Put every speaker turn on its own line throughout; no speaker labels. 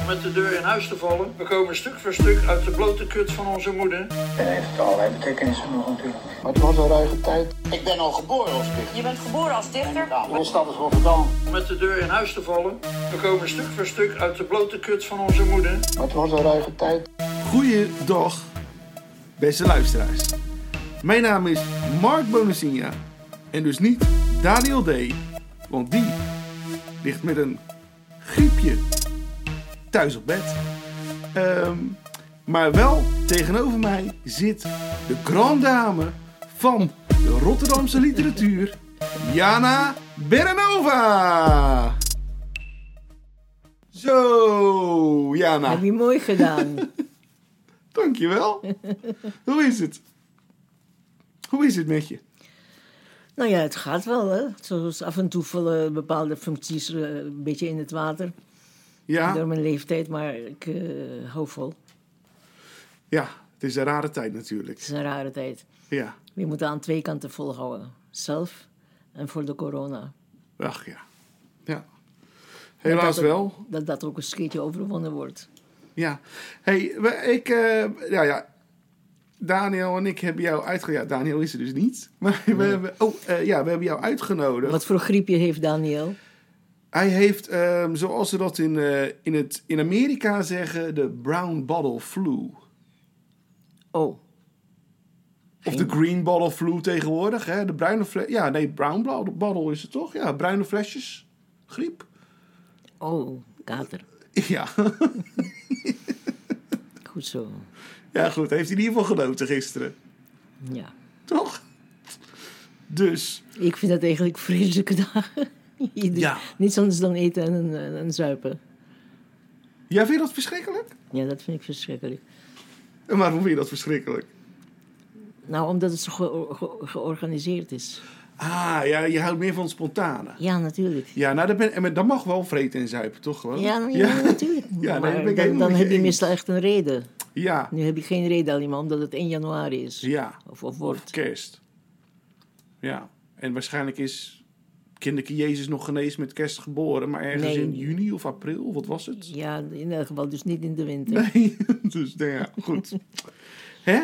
om met de deur in huis te vallen. We komen stuk voor stuk uit de blote kut van onze moeder.
En heeft allerlei betekenissen nog natuurlijk.
Maar het was een ruige tijd.
Ik ben al geboren als dichter.
Je bent geboren als dichter?
Nou, mijn stad is Rotterdam.
Om met de deur in huis te vallen. We komen stuk voor stuk uit de blote kut van onze moeder.
Maar het was een ruige tijd.
Goeiedag, beste luisteraars. Mijn naam is Mark Bonacinha en dus niet Daniel D. Want die ligt met een griepje thuis op bed. Ehm, maar wel tegenover mij zit de grand dame van de Rotterdamse literatuur, Jana Berenova. Zo, Jana.
Heb je mooi gedaan.
Dankjewel. Hoe is het? Hoe is het met je?
nou ja, het gaat wel, hè. Zoals af en toe vallen bepaalde functies eh, een beetje in het water. Door
Ja,
mijn leeftijd, maar ik eh, hou vol.
ja het is een rare tijd
Het
natuurlijk.
is een rare tijd.
Ja,
Je moet aan twee kanten volhouden. Zelf en voor de corona.
ach ja. ja. Helaas
Dat dat-
wel.
Dat dat ook eens een keertje overwonnen wordt.
Ja. hey, we- ik... eh, ja, ja. Daniel en ik hebben jou uitgenodigd. Ja, Daniel is er dus niet. Maar we, hebben, oh, eh, ja, we hebben jou uitgenodigd.
Wat voor griepje heeft Daniel?
Hij heeft, ehm, zoals ze dat in, eh, in, het, in Amerika zeggen, de brown bottle flu.
Oh,
Of de green bottle flu tegenwoordig, hè? De bruine fles. Ja, nee, brown bla- bottle is het toch? Ja, bruine flesjes. Griep.
oh, kater.
Ja.
Goed zo.
ja, goed. Heeft hij in ieder geval genoten gisteren.
Ja.
Toch? Dus.
Ik vind dat eigenlijk vreselijke dagen. Ieder-
Ja.
Niets anders dan eten en, en, en zuipen.
Jij vindt dat verschrikkelijk?
Ja, dat vind ik verschrikkelijk.
En waarom vind je dat verschrikkelijk?
Nou, omdat het zo ge- ge- georganiseerd is.
Ah, ja, je houdt meer van het spontane.
Ja, natuurlijk.
Ja, nou, dat, ben, en dat mag wel vreten en zuipen, toch gewoon?
Ja, nou, ja, natuurlijk.
Ja, nee,
maar
dat ben ik
dan,
helemaal
dan
met je
heb je
eens.
meestal echt een reden.
Ja,
Nu heb je geen reden alleen maar omdat het 1 januari is.
ja.
Of, of wordt.
Kerst. Ja. En waarschijnlijk is kinderke Jezus nog genees met kerst geboren, maar ergens
Nee.
in juni of april, wat was het?
Ja, in elk geval dus niet in de winter.
Nee, dus nou ja, goed. Hè?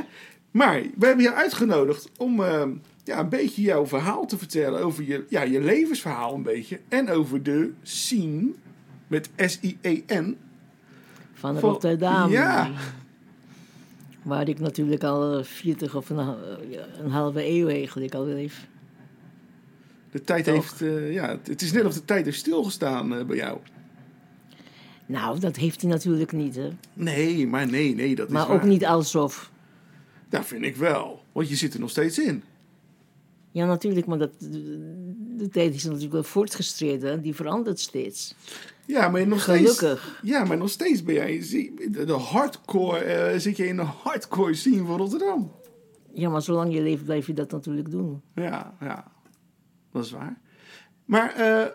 Maar we hebben je uitgenodigd om ehm, ja, een beetje jouw verhaal te vertellen. Over je, ja, je levensverhaal een beetje. En over de scene met S-I-E-N.
Van
van-
Rotterdam.
Ja,
Waar ik natuurlijk al eh, 40 of een, ha- eh, ja, een halve eeuw eigenlijk al leef.
de tijd heeft... eh, ja, het- het is net of de tijd heeft stilgestaan eh, bij jou.
Nou, dat heeft hij natuurlijk niet, hè.
Nee, maar nee, nee, dat is
Maar
waar.
ook niet alsof.
Dat vind ik wel. Want je zit er nog steeds in.
Ja, natuurlijk, maar dat, de, de tijd is natuurlijk wel voortgestreden. hè. Die verandert steeds.
Ja, maar nog steeds.
Gelukkig.
Ja, maar nog steeds ben jij. zie- De de hardcore. eh, zit je in de hardcore scene van Rotterdam?
Ja, maar zolang je leeft blijf je dat natuurlijk doen.
Ja, ja. Dat is waar. Maar, eh,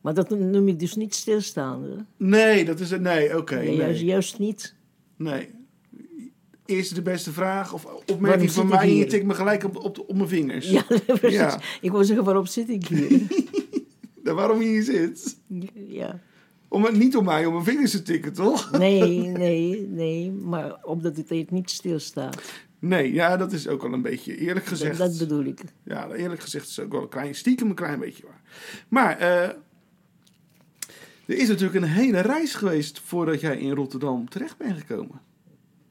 Maar dat noem ik dus niet stilstaande.
nee, dat is het. Nee, oké.
Nee, Juist,
nee.
juist niet.
nee. Eerst de beste vraag of
Waarom
opmerking
zit
van
ik
mij. En je
hier?
tikt me gelijk op, op, de- op mijn vingers.
Ja, precies.
Ja.
Ik wou zeggen, waarop zit ik hier?
Nou, Waarom je hier zit?
ja.
Om, het- niet om mij om mijn vingers te tikken, toch?
Nee, nee, nee. Maar omdat de tijd niet stilstaat.
Nee, ja, dat is ook wel een beetje eerlijk
Dat,
gezegd.
dat bedoel ik.
Ja, eerlijk gezegd is het ook wel een klein, stiekem een klein beetje waar. Maar eh, er is natuurlijk een hele reis geweest voordat jij in Rotterdam terecht bent gekomen.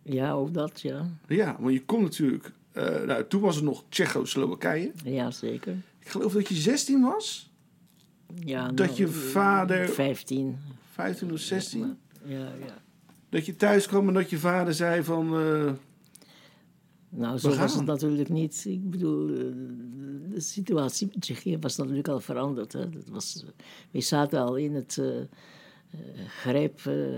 Ja, ook dat, ja.
Ja, want je komt natuurlijk... eh, nou, toen was het nog Tsjechoslowakije.
Ja, zeker.
Ik geloof dat je 16 was.
Ja, nou,
Dat je vader...
Vijftien.
15 of 16.
Ja, ja.
Dat je thuis kwam en dat je vader zei van... eh,
Nou, zo
We
was
gaan.
het natuurlijk niet. Ik bedoel, eh, de situatie in Tsjechië was natuurlijk al veranderd. Hè. Dat was, eh, we zaten al in het eh, eh, greep, eh,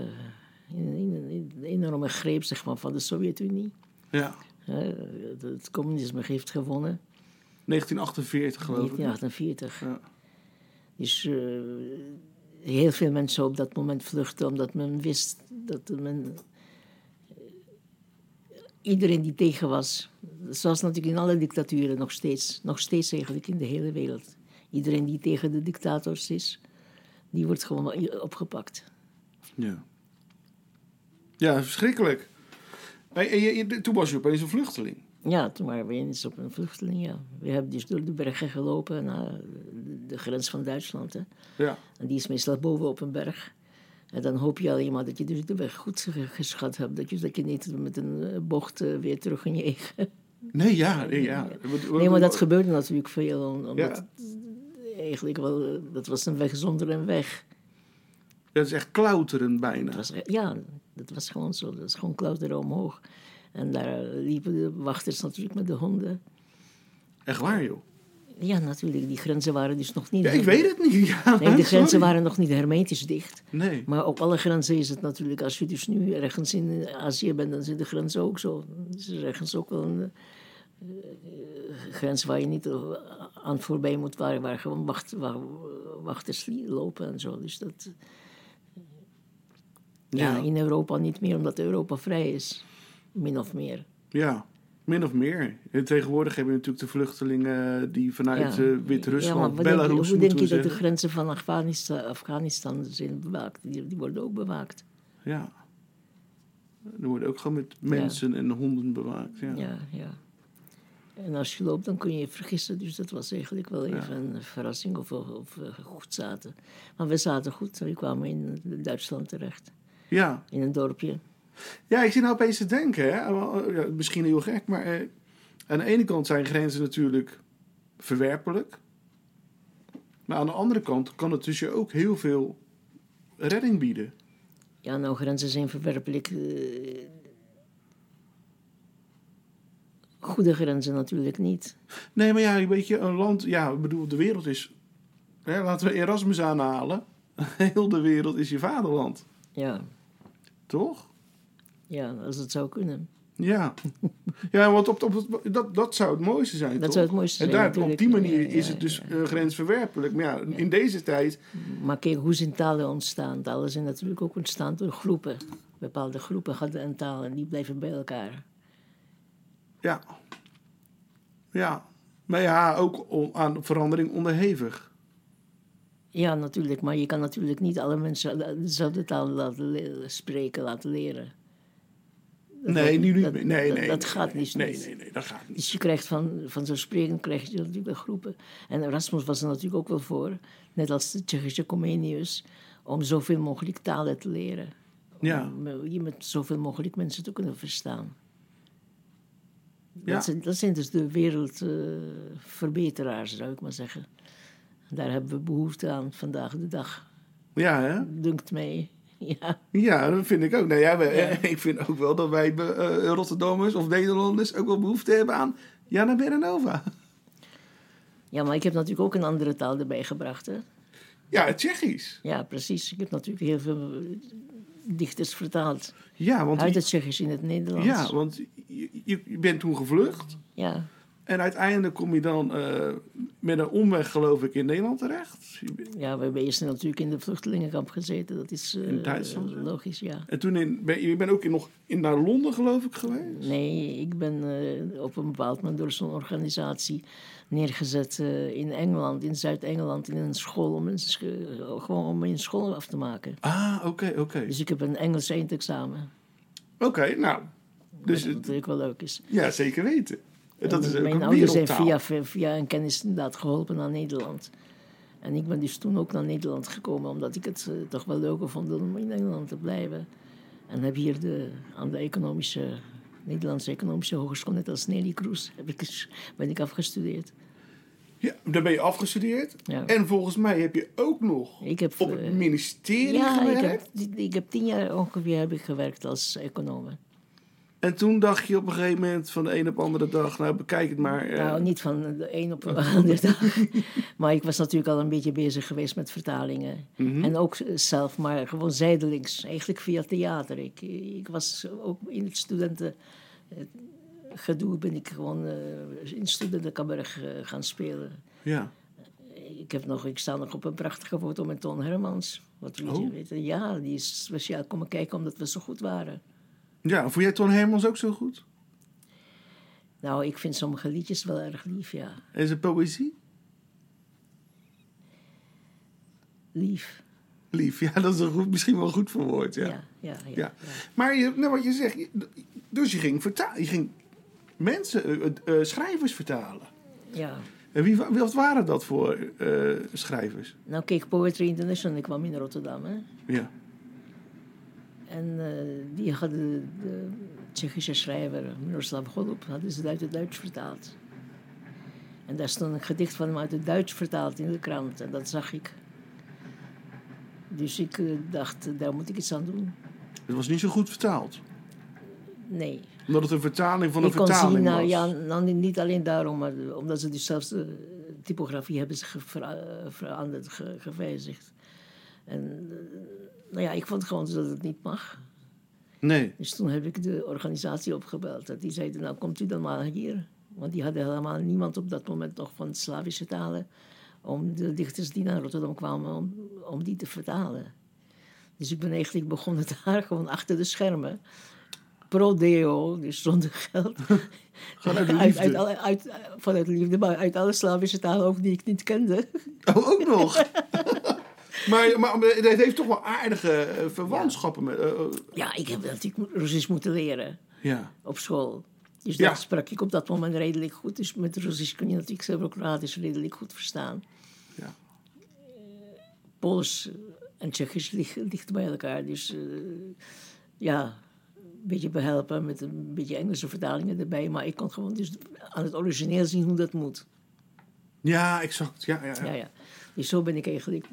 in, in, in de enorme greep zeg maar, van de Sovjet-Unie.
ja,
hè. Het- het communisme heeft gewonnen
1948
in
geloof ik.
1948.
Ja.
Dus eh, heel veel mensen op dat moment vluchtten, omdat men wist dat men. eh, Iedereen die tegen was, zoals natuurlijk in alle dictaturen nog steeds, nog steeds eigenlijk in de hele wereld. Iedereen die tegen de dictators is, die wordt gewoon opgepakt.
Ja. Ja, verschrikkelijk. En, en je- je- toen was je opeens een vluchteling.
Ja, toen waren we eens op een vluchteling, ja. We hebben dus door de bergen gelopen naar de grens van Duitsland, hè.
Ja.
En die is meestal boven op een berg. En dan hoop je alleen maar dat je dus de weg goed ge- geschat hebt. Dat je, dat je niet met een eh, bocht eh, weer terug in je eigen...
Nee, ja. Nee, ja.
Nee, maar dat gebeurde natuurlijk veel. om- Omdat
Ja.
het eigenlijk wel... eh, Dat was een weg zonder een weg.
Dat is echt klauteren
Dat
bijna.
was, ja, dat was gewoon zo. Dat is gewoon klauteren omhoog. En daar eh, liepen de wachters natuurlijk met de honden.
Echt waar, joh.
Ja, natuurlijk. Die grenzen waren dus nog niet...
Ja, ik weet het niet. Ja,
Nee, de grenzen
sorry.
waren nog niet hermetisch dicht.
Nee.
Maar op alle grenzen is het natuurlijk, als je dus nu ergens in Azië bent, dan zit de grens ook zo. Dus er is ergens ook wel een eh, eh, grens waar je niet eh, aan voorbij moet, waar, waar gewoon wacht, waar, wachters lopen en zo. Dus dat. Ja.
Ja.
in Europa niet meer, omdat Europa vrij is, min of meer.
Ja, min of meer. En tegenwoordig hebben we natuurlijk de vluchtelingen die vanuit
Ja.
eh,
Ja, maar
Wit-Rusland,
wat denk je-
Belarus
Hoe denk
moeten
je
we
dat de
zeggen.
grenzen van Afghanistan, Afghanistan zijn bewaakt? Die, die worden ook bewaakt.
Ja. Er worden ook gewoon met mensen en honden bewaakt. Ja.
Ja, ja. En als je loopt, dan kun je je vergissen. Dus dat was eigenlijk wel even een verrassing of we of we goed zaten. Maar we zaten goed. We kwamen in Duitsland terecht.
ja.
In een dorpje.
Ja, ik zit nou opeens te denken. Hè? Wel, ja, Misschien heel gek, maar eh, aan de ene kant zijn grenzen natuurlijk verwerpelijk. Maar aan de andere kant kan het dus je ook heel veel redding bieden.
Ja, nou, grenzen zijn verwerpelijk. eh, Goede grenzen natuurlijk niet.
Nee, maar ja, weet je, een land... Ja, ik bedoel, de wereld is... Hè, laten we Erasmus aanhalen. Heel de wereld is je vaderland,
Ja,
toch?
ja als het zou kunnen.
Ja. Ja, want op, op, dat, dat zou het mooiste zijn,
Dat
toch?
zou het mooiste
en
zijn,
daar, op die
natuurlijk.
manier
Ja, ja,
is het dus eh, grensverwerpelijk. Maar ja, in deze tijd...
Maar kijk, hoe zijn talen ontstaan? Talen zijn natuurlijk ook ontstaan door groepen. Bepaalde groepen hadden een taal en die blijven bij elkaar.
Ja. Ja. Maar ja, ook o- aan verandering onderhevig.
Ja, natuurlijk. Maar je kan natuurlijk niet alle mensen eh, dezelfde taal laten le- spreken, laten leren.
nee, nu niet
dat-
meer. Nee,
dat-
nee.
dat gaat dus niet
Nee,
snel.
nee, nee, dat gaat niet.
Dus je krijgt van, van zo'n spreken krijg je natuurlijk wel groepen. En Erasmus was er natuurlijk ook wel voor, net als de Tsjechische Comenius, om zoveel mogelijk talen te leren.
Ja.
Om eh, je met zoveel mogelijk mensen te kunnen verstaan.
Ja.
Dat, zijn, dat zijn dus de wereldverbeteraars, zou ik maar zeggen. Daar hebben we behoefte aan vandaag de dag,
Ja, hè?
dunkt mij. Ja.
Ja, dat vind ik ook. Nou ja, we- ik vind ook wel dat wij eh, Rotterdammers of Nederlanders ook wel behoefte hebben aan Jana Berenova.
Ja, maar ik heb natuurlijk ook een andere taal erbij gebracht. Hè?
Ja, het Tsjechisch.
Ja, precies. Ik heb natuurlijk heel veel eh, dichters vertaald.
Ja, want,
Uit het Tsjechisch in het Nederlands.
ja, want je, je- je bent toen gevlucht.
ja.
En uiteindelijk kom je dan eh, met een omweg, geloof ik, in Nederland terecht.
Ja, we hebben eerst natuurlijk in de vluchtelingenkamp gezeten. Dat is eh,
In Duitsland, hè?
logisch, ja.
En toen in, ben, je bent ook in, nog in, naar Londen, geloof ik, geweest.
Nee, ik ben eh, op een bepaald moment door zo'n organisatie neergezet eh, in Engeland, in Zuid-Engeland, in een school om een sch- eh, gewoon om een school af te maken.
Ah, oké, oké.
Dus ik heb een Engels eindexamen,
Oké, nou. Dus,
wat
het-
natuurlijk wel leuk is.
ja, zeker weten. En dat
En
is ook
mijn
een
ouders zijn
wereldtaal.
dus, eh, via, via een kennis inderdaad geholpen naar Nederland. En ik ben dus toen ook naar Nederland gekomen, omdat ik het eh, toch wel leuker vond om in Nederland te blijven. En heb hier de, aan de economische, Nederlandse Economische Hogeschool, net als Nelly Kroes, heb ik, eens- ben ik afgestudeerd.
Ja, daar ben je afgestudeerd.
Ja.
En volgens mij heb je ook nog
Ik heb,
op het
eh,
ministerie
Ja, ik
gewerkt.
heb, ik heb tien jaar ongeveer heb ik gewerkt als econoom.
En toen dacht je op een gegeven moment van de een op de andere dag... nou, bekijk het maar. eh,
Nou, niet van de een op de andere dag. Maar ik was natuurlijk al een beetje bezig geweest met vertalingen.
Mhm.
En ook eh, zelf, maar gewoon zijdelings. Eigenlijk via theater. Ik, ik was ook in het studentengedoe... ben ik gewoon eh, in studentenkamer eh, gaan spelen.
Ja.
Ik, heb nog, ik sta nog op een prachtige foto met Ton Hermans. Wat moet je
Oh.
weten? Ja, die is speciaal komen kijken omdat we zo goed waren.
ja, vond jij Ton Hermans ook zo goed?
Nou, ik vind sommige liedjes wel erg lief, ja.
En zijn poëzie?
Lief.
Lief, ja, dat is een goed, misschien wel goed verwoord. Ja.
Ja, ja, ja.
Ja. Maar je, nou, wat je zegt, je- dus je ging, verta- je ging mensen, eh, eh, schrijvers vertalen.
ja.
En wie, wa- wat waren dat voor eh, schrijvers?
Nou, kijk, Poetry International kwam in Rotterdam. Hè?
Ja.
En eh, die hadden de Tsjechische schrijver Miroslav Golub, hadden ze het uit het Duits vertaald. En daar stond een gedicht van hem uit het Duits vertaald in de krant. En dat zag ik. Dus ik eh, dacht, daar moet ik iets aan doen.
Het was niet zo goed vertaald.
Nee.
Omdat het een vertaling van een
ik kon
vertaling
zien, nou
was.
ja, nou, niet- niet alleen daarom, maar eh, omdat ze diezelfde typografie hebben ze ge- vera- veranderd, ge- gewijzigd. En eh, nou ja, ik vond gewoon dat het niet mag.
Nee.
Dus toen heb ik de organisatie opgebeld. En die zeiden, nou komt u dan maar hier. Want die hadden helemaal niemand op dat moment nog van Slavische talen... om de dichters die naar Rotterdam kwamen, om, om die te vertalen. Dus ik ben eigenlijk begonnen daar, gewoon achter de schermen. Pro deo, dus zonder geld.
Gewoon uit de
uit,
liefde.
uit, alle- uit, vanuit liefde, maar uit alle Slavische talen ook die ik niet kende.
Oh, ook nog. maar, maar het heeft toch wel aardige eh, verwantschappen met. eh, eh,
Ja, ik heb natuurlijk Russisch moeten leren.
ja.
op school. Dus
Ja.
dat sprak ik op dat moment redelijk goed. Dus met Russisch kun je natuurlijk Serbo-Kroatisch redelijk goed verstaan.
Ja.
Pools en Tsjechisch lig- ligt, bij elkaar. Dus eh, ja, een beetje behelpen met een beetje Engelse vertalingen erbij. Maar ik kon gewoon dus aan het origineel zien hoe dat moet.
ja, exact. Ja, ja, ja.
Ja, ja. Dus zo ben ik eigenlijk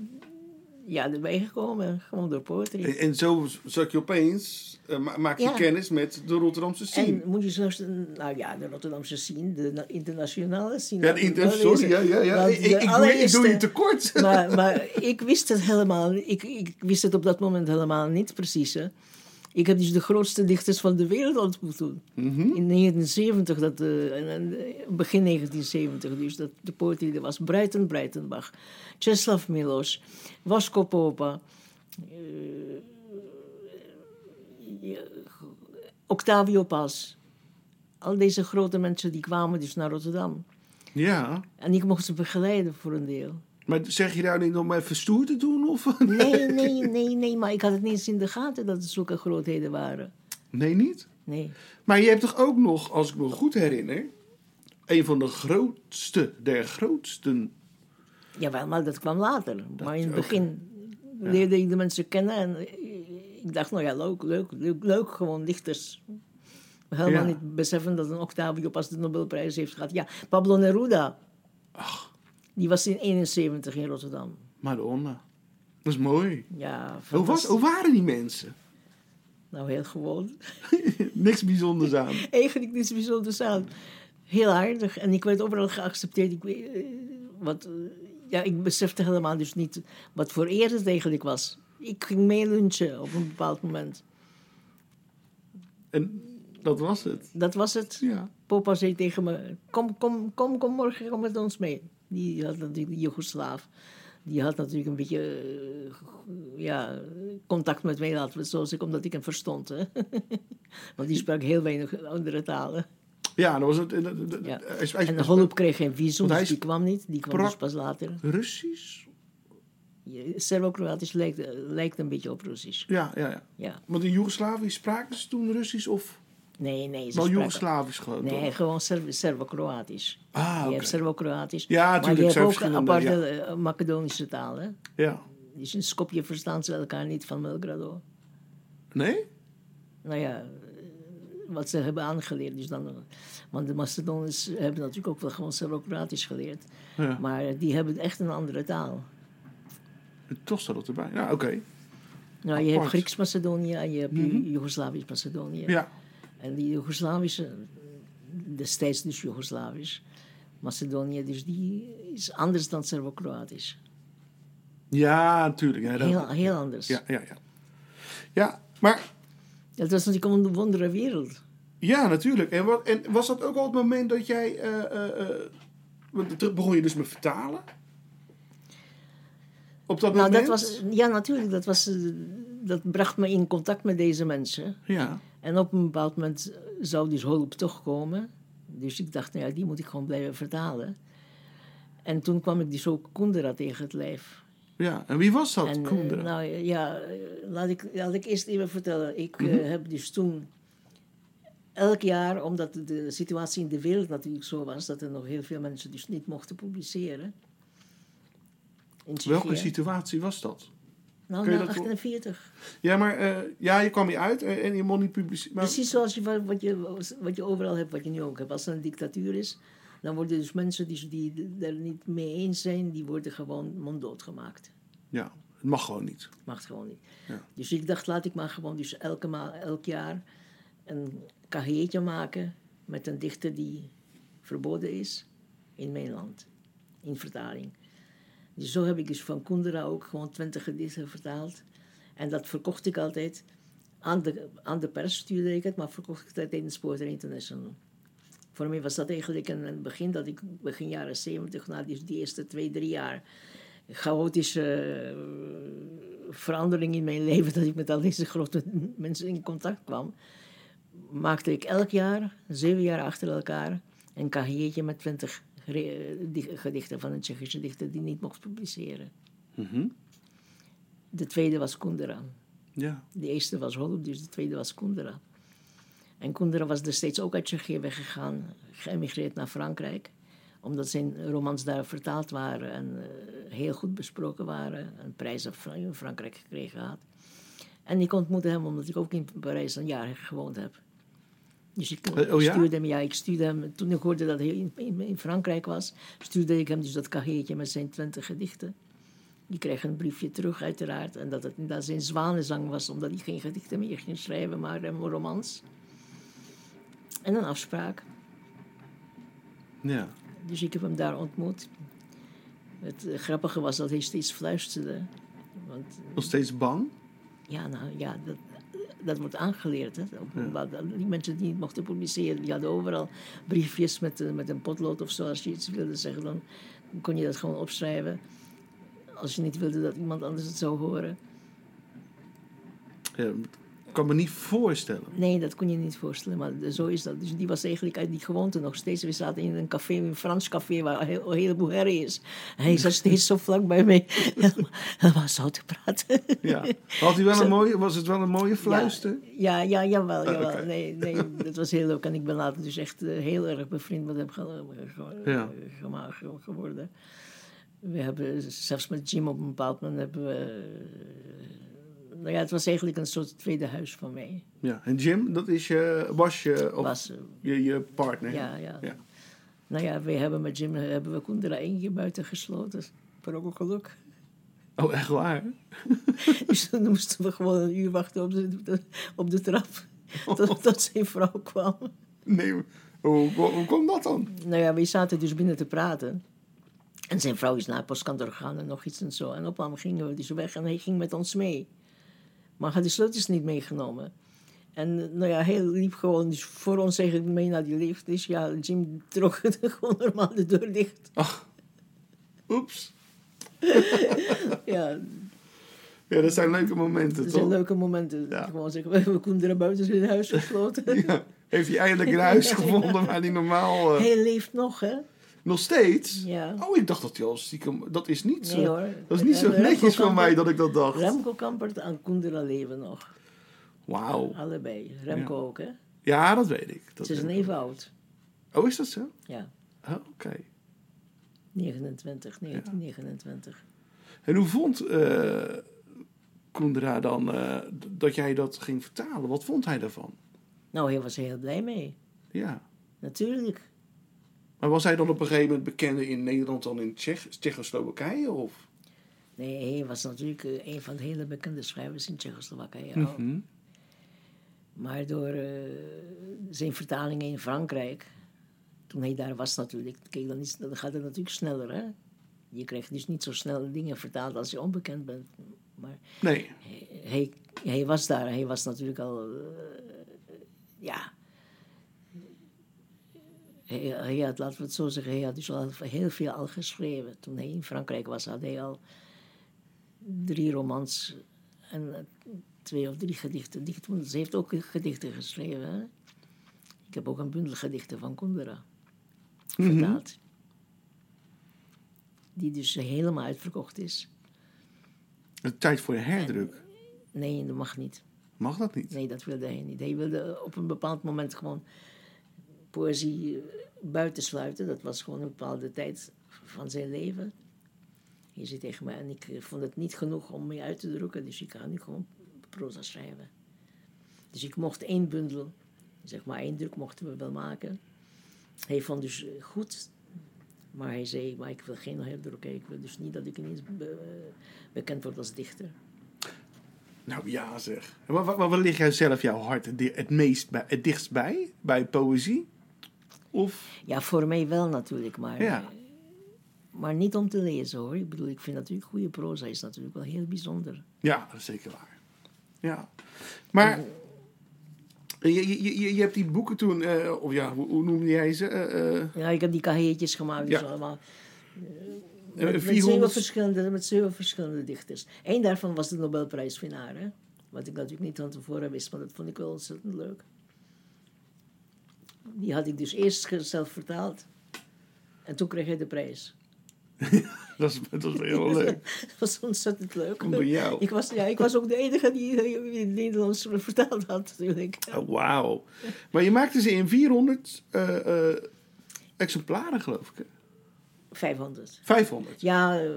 ja, erbij gekomen. Gewoon door poetry.
En, en zo zat je opeens, eh, ma- maak je
Ja.
kennis met de Rotterdamse scene.
En moet je zelfs, nou ja, de Rotterdamse scene, de na- internationale scene.
ja, de inter- sorry, ja, ja, ja.
Want
Ik,
de
ik, ik doe, ik
allereerste-
doe je tekort.
Maar, maar ik wist het helemaal, ik, ik wist het op dat moment helemaal niet precies. Hè. Ik heb dus de grootste dichters van de wereld ontmoet toen. In 1970, dat, eh, en- en, eh, begin 1970, dus dat de poëzie er was. Breiten Breitenbach, Czeslaw Milos, Vasco Popa, eh, ja, Octavio Paz. Al deze grote mensen die kwamen dus naar Rotterdam.
ja,
En ik mocht ze begeleiden voor een deel.
maar zeg je daar niet om even stoer te doen? Of?
Nee, nee, nee, nee, maar ik had het niet eens in de gaten dat het zulke grootheden waren.
nee, niet?
Nee.
Maar je hebt toch ook nog, als ik me goed herinner, een van de grootste der grootsten.
Jawel, maar dat kwam later. maar in het begin leerde ik de mensen kennen en ik dacht, nou ja, leuk, leuk, leuk, leuk gewoon dichters. Helemaal
Ja.
niet beseffen dat een Octavio pas de Nobelprijs heeft gehad. Ja, Pablo Neruda. Die was in 71 in Rotterdam.
Madonna. Dat is mooi.
Ja,
Hoe, was,
fantastisch.
hoe waren die mensen?
Nou, heel gewoon.
Niks bijzonders aan.
eigenlijk niets bijzonders aan. Heel aardig. En ik werd overal geaccepteerd. Ik, eh, wat, eh, ja, ik besefte helemaal dus niet wat voor eer het eigenlijk was. Ik ging mee lunchen op een bepaald moment.
En dat was het.
Dat was het.
Ja.
Papa zei tegen me, kom, kom, kom, kom morgen kom met ons mee. Die had natuurlijk, die Joegoslaaf, die had natuurlijk een beetje eh, ja, contact met mij, laten we het zo zeggen, omdat ik hem verstond. Hè? Want die sprak heel weinig andere talen.
Ja, dat was het. en dat- dat-
Ja.
hij sp- hij
en
sp-
Holop kreeg geen visum,
Want hij
dus die
sp-
kwam niet. Die kwam
sprak-
dus pas later.
Russisch?
Je- Servo-Kroatisch lijkt, eh, lijkt een beetje op Russisch.
Ja, ja, ja.
Ja.
Want in Joegoslavië spraken ze toen Russisch of
Nee, nee. Ze
wel
spraken-
Joegoslavisch gewoon?
Nee,
toch?
gewoon Ser- Servo-Kroatisch.
Ah,
Je
oké.
hebt Servo-Kroatisch.
Ja,
maar
tuurlijk,
je hebt
zijn
ook een
verschillende,
aparte eh, Macedonische taal. Hè?
Ja.
Dus in Skopje verstaan ze elkaar niet van Belgrado.
Nee?
Nou ja, eh, wat ze hebben aangeleerd. Dus dan, want de Macedoniërs hebben natuurlijk ook wel gewoon Servo-Kroatisch geleerd.
Ja.
Maar die hebben echt een andere taal.
En Toch staat dat erbij. Ja, oké.
Nou, je hebt
Apart. Mhm.
Grieks-Macedonië en je hebt Joegoslavisch-Macedonië.
Ja.
En die Joegoslavische, destijds dus Joegoslavisch, Macedonië, dus die is anders dan Servo-Kroatisch.
Ja, natuurlijk. Ja, dat-
Heel, heel anders.
ja, ja, ja. Ja, maar...
Het was natuurlijk een wondere wereld.
Ja, natuurlijk. En, wat, en was dat ook al het moment dat jij... eh, eh, eh, want toen begon je dus met vertalen? Op dat
Nou,
moment?
dat was, ja, natuurlijk, dat, was, eh, dat bracht me in contact met deze mensen.
Ja.
En op een bepaald moment zou dus hulp toch komen. Dus ik dacht, nou ja, die moet ik gewoon blijven vertalen. En toen kwam ik dus ook Kundera tegen het lijf.
Ja, en wie was dat?
En, eh,
Koenderen.
nou ja, eh, laat ik, laat ik eerst even vertellen. Ik eh,
Mhm.
heb dus toen elk jaar, omdat de situatie in de wereld natuurlijk zo was, dat er nog heel veel mensen dus niet mochten publiceren. In
Welke
Tsjechië.
situatie was dat?
Nou,
kun je
na
dat voor-
48.
Ja, maar eh, ja, je kwam hier uit eh, en je mocht niet publiceren. Maar,
Precies zoals je, wa- wat, je, wat je overal hebt, wat je nu ook hebt. Als er een dictatuur is, dan worden dus mensen die, die er niet mee eens zijn, die worden gewoon monddood gemaakt.
Ja, het mag gewoon niet.
Mag het gewoon niet.
Ja.
Dus ik dacht, laat ik maar gewoon dus elke ma elk jaar een cahiers maken met een dichter die verboden is in mijn land, in vertaling. Dus zo heb ik dus van Kundera ook gewoon twintig gedichten vertaald. En dat verkocht ik altijd. Aan de, aan de pers stuurde ik het, maar verkocht ik het tijdens Poetry International. Voor mij was dat eigenlijk een, een begin dat ik begin jaren zeventig, na die, die eerste twee, drie jaar, chaotische eh, verandering in mijn leven, dat ik met al deze grote mensen in contact kwam, maakte ik elk jaar, zeven jaar achter elkaar, een cahiers met twintig gedichten van een Tsjechische dichter die niet mocht publiceren. De tweede was Kundera.
Ja,
De eerste was Holop, dus de tweede was Kundera. En Kundera was destijds ook uit Tsjechië weggegaan, geëmigreerd naar Frankrijk. Omdat zijn romans daar vertaald waren en eh, heel goed besproken waren. Een prijs in Fran- in Frankrijk gekregen had. En ik ontmoette hem omdat ik ook in Parijs een jaar gewoond heb. Dus ik eh,
Eh, oh ja?
stuurde hem, ja, ik stuurde hem. Toen ik hoorde dat hij in, in, in Frankrijk was, stuurde ik hem dus dat cahiers met zijn twintig gedichten. Die kreeg een briefje terug, uiteraard. En dat het inderdaad zijn zwanenzang was, omdat hij geen gedichten meer ging schrijven, maar een romans. En een afspraak.
ja.
Dus ik heb hem daar ontmoet. Het eh, grappige was dat hij steeds fluisterde. Want
Nog steeds bang?
ja, nou ja, dat, dat wordt aangeleerd. Hè? Op- wat- Die mensen die niet mochten publiceren, die hadden overal briefjes met, eh, met een potlood of zo. Als je iets wilde zeggen, dan kon je dat gewoon opschrijven. Als je niet wilde dat iemand anders het zou horen.
Ja, ik kan me niet voorstellen.
Nee, dat kon je niet voorstellen, maar de- zo is dat. Dus die was eigenlijk uit die gewoonte nog steeds. We zaten in een café, een Frans café, waar een, heel, een heleboel herrie is. En hij zat steeds zo vlak bij mij. Hij was zo te praten.
Ja. Had hij wel een mooie, was het wel een mooie fluister?
Ja, ja, ja jawel, jawel.
Ah, oké.
Nee, nee, dat was heel leuk. En ik ben later dus echt eh, heel erg bevriend met hem ge- ge- eh,
Ja.
gema- ge- geworden. We hebben zelfs met Jim op een bepaald moment hebben we... eh, Nou ja, het was eigenlijk een soort tweede huis van mij.
Ja. En Jim, dat is je, was je, of
Was, eh,
je, je partner?
Ja, ja.
Ja.
Nou ja, we hebben met Jim hebben we Koendera één keer buiten gesloten. Per ongeluk.
Oh, echt waar?
Dus dan moesten we gewoon een uur wachten op de, op de trap. Tot, tot zijn vrouw kwam.
Nee, maar hoe, hoe, hoe komt dat dan?
Nou ja, we zaten dus binnen te praten. En zijn vrouw is naar het postkantoor gegaan en nog iets en zo. En op een gingen we dus weg en hij ging met ons mee. Maar hij had de sleutels niet meegenomen. En eh, nou ja, hij liep gewoon dus voor ons eigenlijk mee naar die lift. Dus ja, Jim trok het gewoon normaal de deur dicht.
Oeps.
Ja,
Ja, dat zijn leuke momenten,
Dat
toch?
zijn leuke momenten.
Ja.
Gewoon zeggen, we hebben Koen er buiten zijn huis gesloten.
Ja. Heeft hij eindelijk een huis gevonden waar hij normaal... eh,
Hij leeft nog, hè?
Nog steeds?
Ja.
Oh, ik dacht dat hij al stiekem... Dat is niet zo,
Nee, hoor.
dat is niet zo
Remco
netjes van
Kamper-
mij dat ik dat dacht.
Remco Kampert en Koendera leven nog.
Wauw.
Allebei. Remco
Ja.
ook, hè?
Ja, dat weet ik. Dat
Ze is
weet
een
ik.
even oud.
Oh, is dat zo?
Ja,
Oh, Oké.
29, 1929.
En hoe vond eh Koendra dan eh, d- dat jij dat ging vertalen? Wat vond hij daarvan?
Nou, hij was er heel blij mee.
Ja.
Natuurlijk.
Maar was hij dan op een gegeven moment bekender in Nederland dan in Tsjech Tsjechoslowakije? Of?
Nee, hij was natuurlijk eh, een van de hele bekende schrijvers in Tsjechoslowakije. al. Maar door eh, zijn vertalingen in Frankrijk, toen hij daar was natuurlijk, kijk, dan, is, dan gaat het natuurlijk sneller. Hè? Je krijgt dus niet zo snel dingen vertaald als je onbekend bent. Maar
Nee.
hij, hij was daar, hij was natuurlijk al. eh, ja. Hij, hij had, laten we het zo zeggen, hij had dus al heel veel al geschreven. Toen hij in Frankrijk was, had hij al drie romans en eh, twee of drie gedichten. Dicht- want Ze heeft ook gedichten geschreven. Hè? Ik heb ook een bundel gedichten van Kundera vertaald. Die dus helemaal uitverkocht is.
Het tijd voor de herdruk.
Nee, dat mag niet.
Mag dat niet?
Nee, dat wilde hij niet. Hij wilde op een bepaald moment gewoon poëzie eh, buitensluiten. Dat was gewoon een bepaalde tijd van zijn leven. Hij zei tegen mij, en ik eh, vond het niet genoeg om mee uit te drukken, dus ik ga nu gewoon proza schrijven. Dus ik mocht één bundel, zeg maar één druk mochten we wel maken. Hij vond dus eh, goed, maar hij zei, maar ik wil geen herdruk, ik wil dus niet dat ik ineens be- bekend word als dichter.
Nou ja, zeg. Waar, waar, waar ligt jij zelf jouw hart het, di- het meest bij, het dichtst bij? Bij poëzie? Of?
Ja, voor mij wel natuurlijk, maar,
Ja.
maar niet om te lezen hoor. Ik bedoel, ik vind natuurlijk goede proza is natuurlijk wel heel bijzonder.
Ja, dat is zeker waar. Ja. Maar je, je, je, je hebt die boeken toen, eh, of ja, hoe, hoe noemde jij ze? Eh, eh,
Ja, ik heb die kaheetjes gemaakt, dus
Ja.
allemaal.
eh,
Met, met, zeven
400
verschillende, met zeven verschillende dichters. Eén daarvan was de Nobelprijswinnaar, hè? Wat ik natuurlijk niet van tevoren wist, maar dat vond ik wel ontzettend leuk. Die had ik dus eerst ge- zelf vertaald. En toen kreeg hij de prijs.
Dat is, dat is heel leuk.
Dat was ontzettend leuk.
Komt door jou.
Ik was, ja, ik was ook de enige die eh, in het Nederlands vertaald had, natuurlijk.
Oh, Wauw. Maar je maakte ze in 400 eh, eh, exemplaren, geloof ik. hè?
500.
500.
Ja, eh,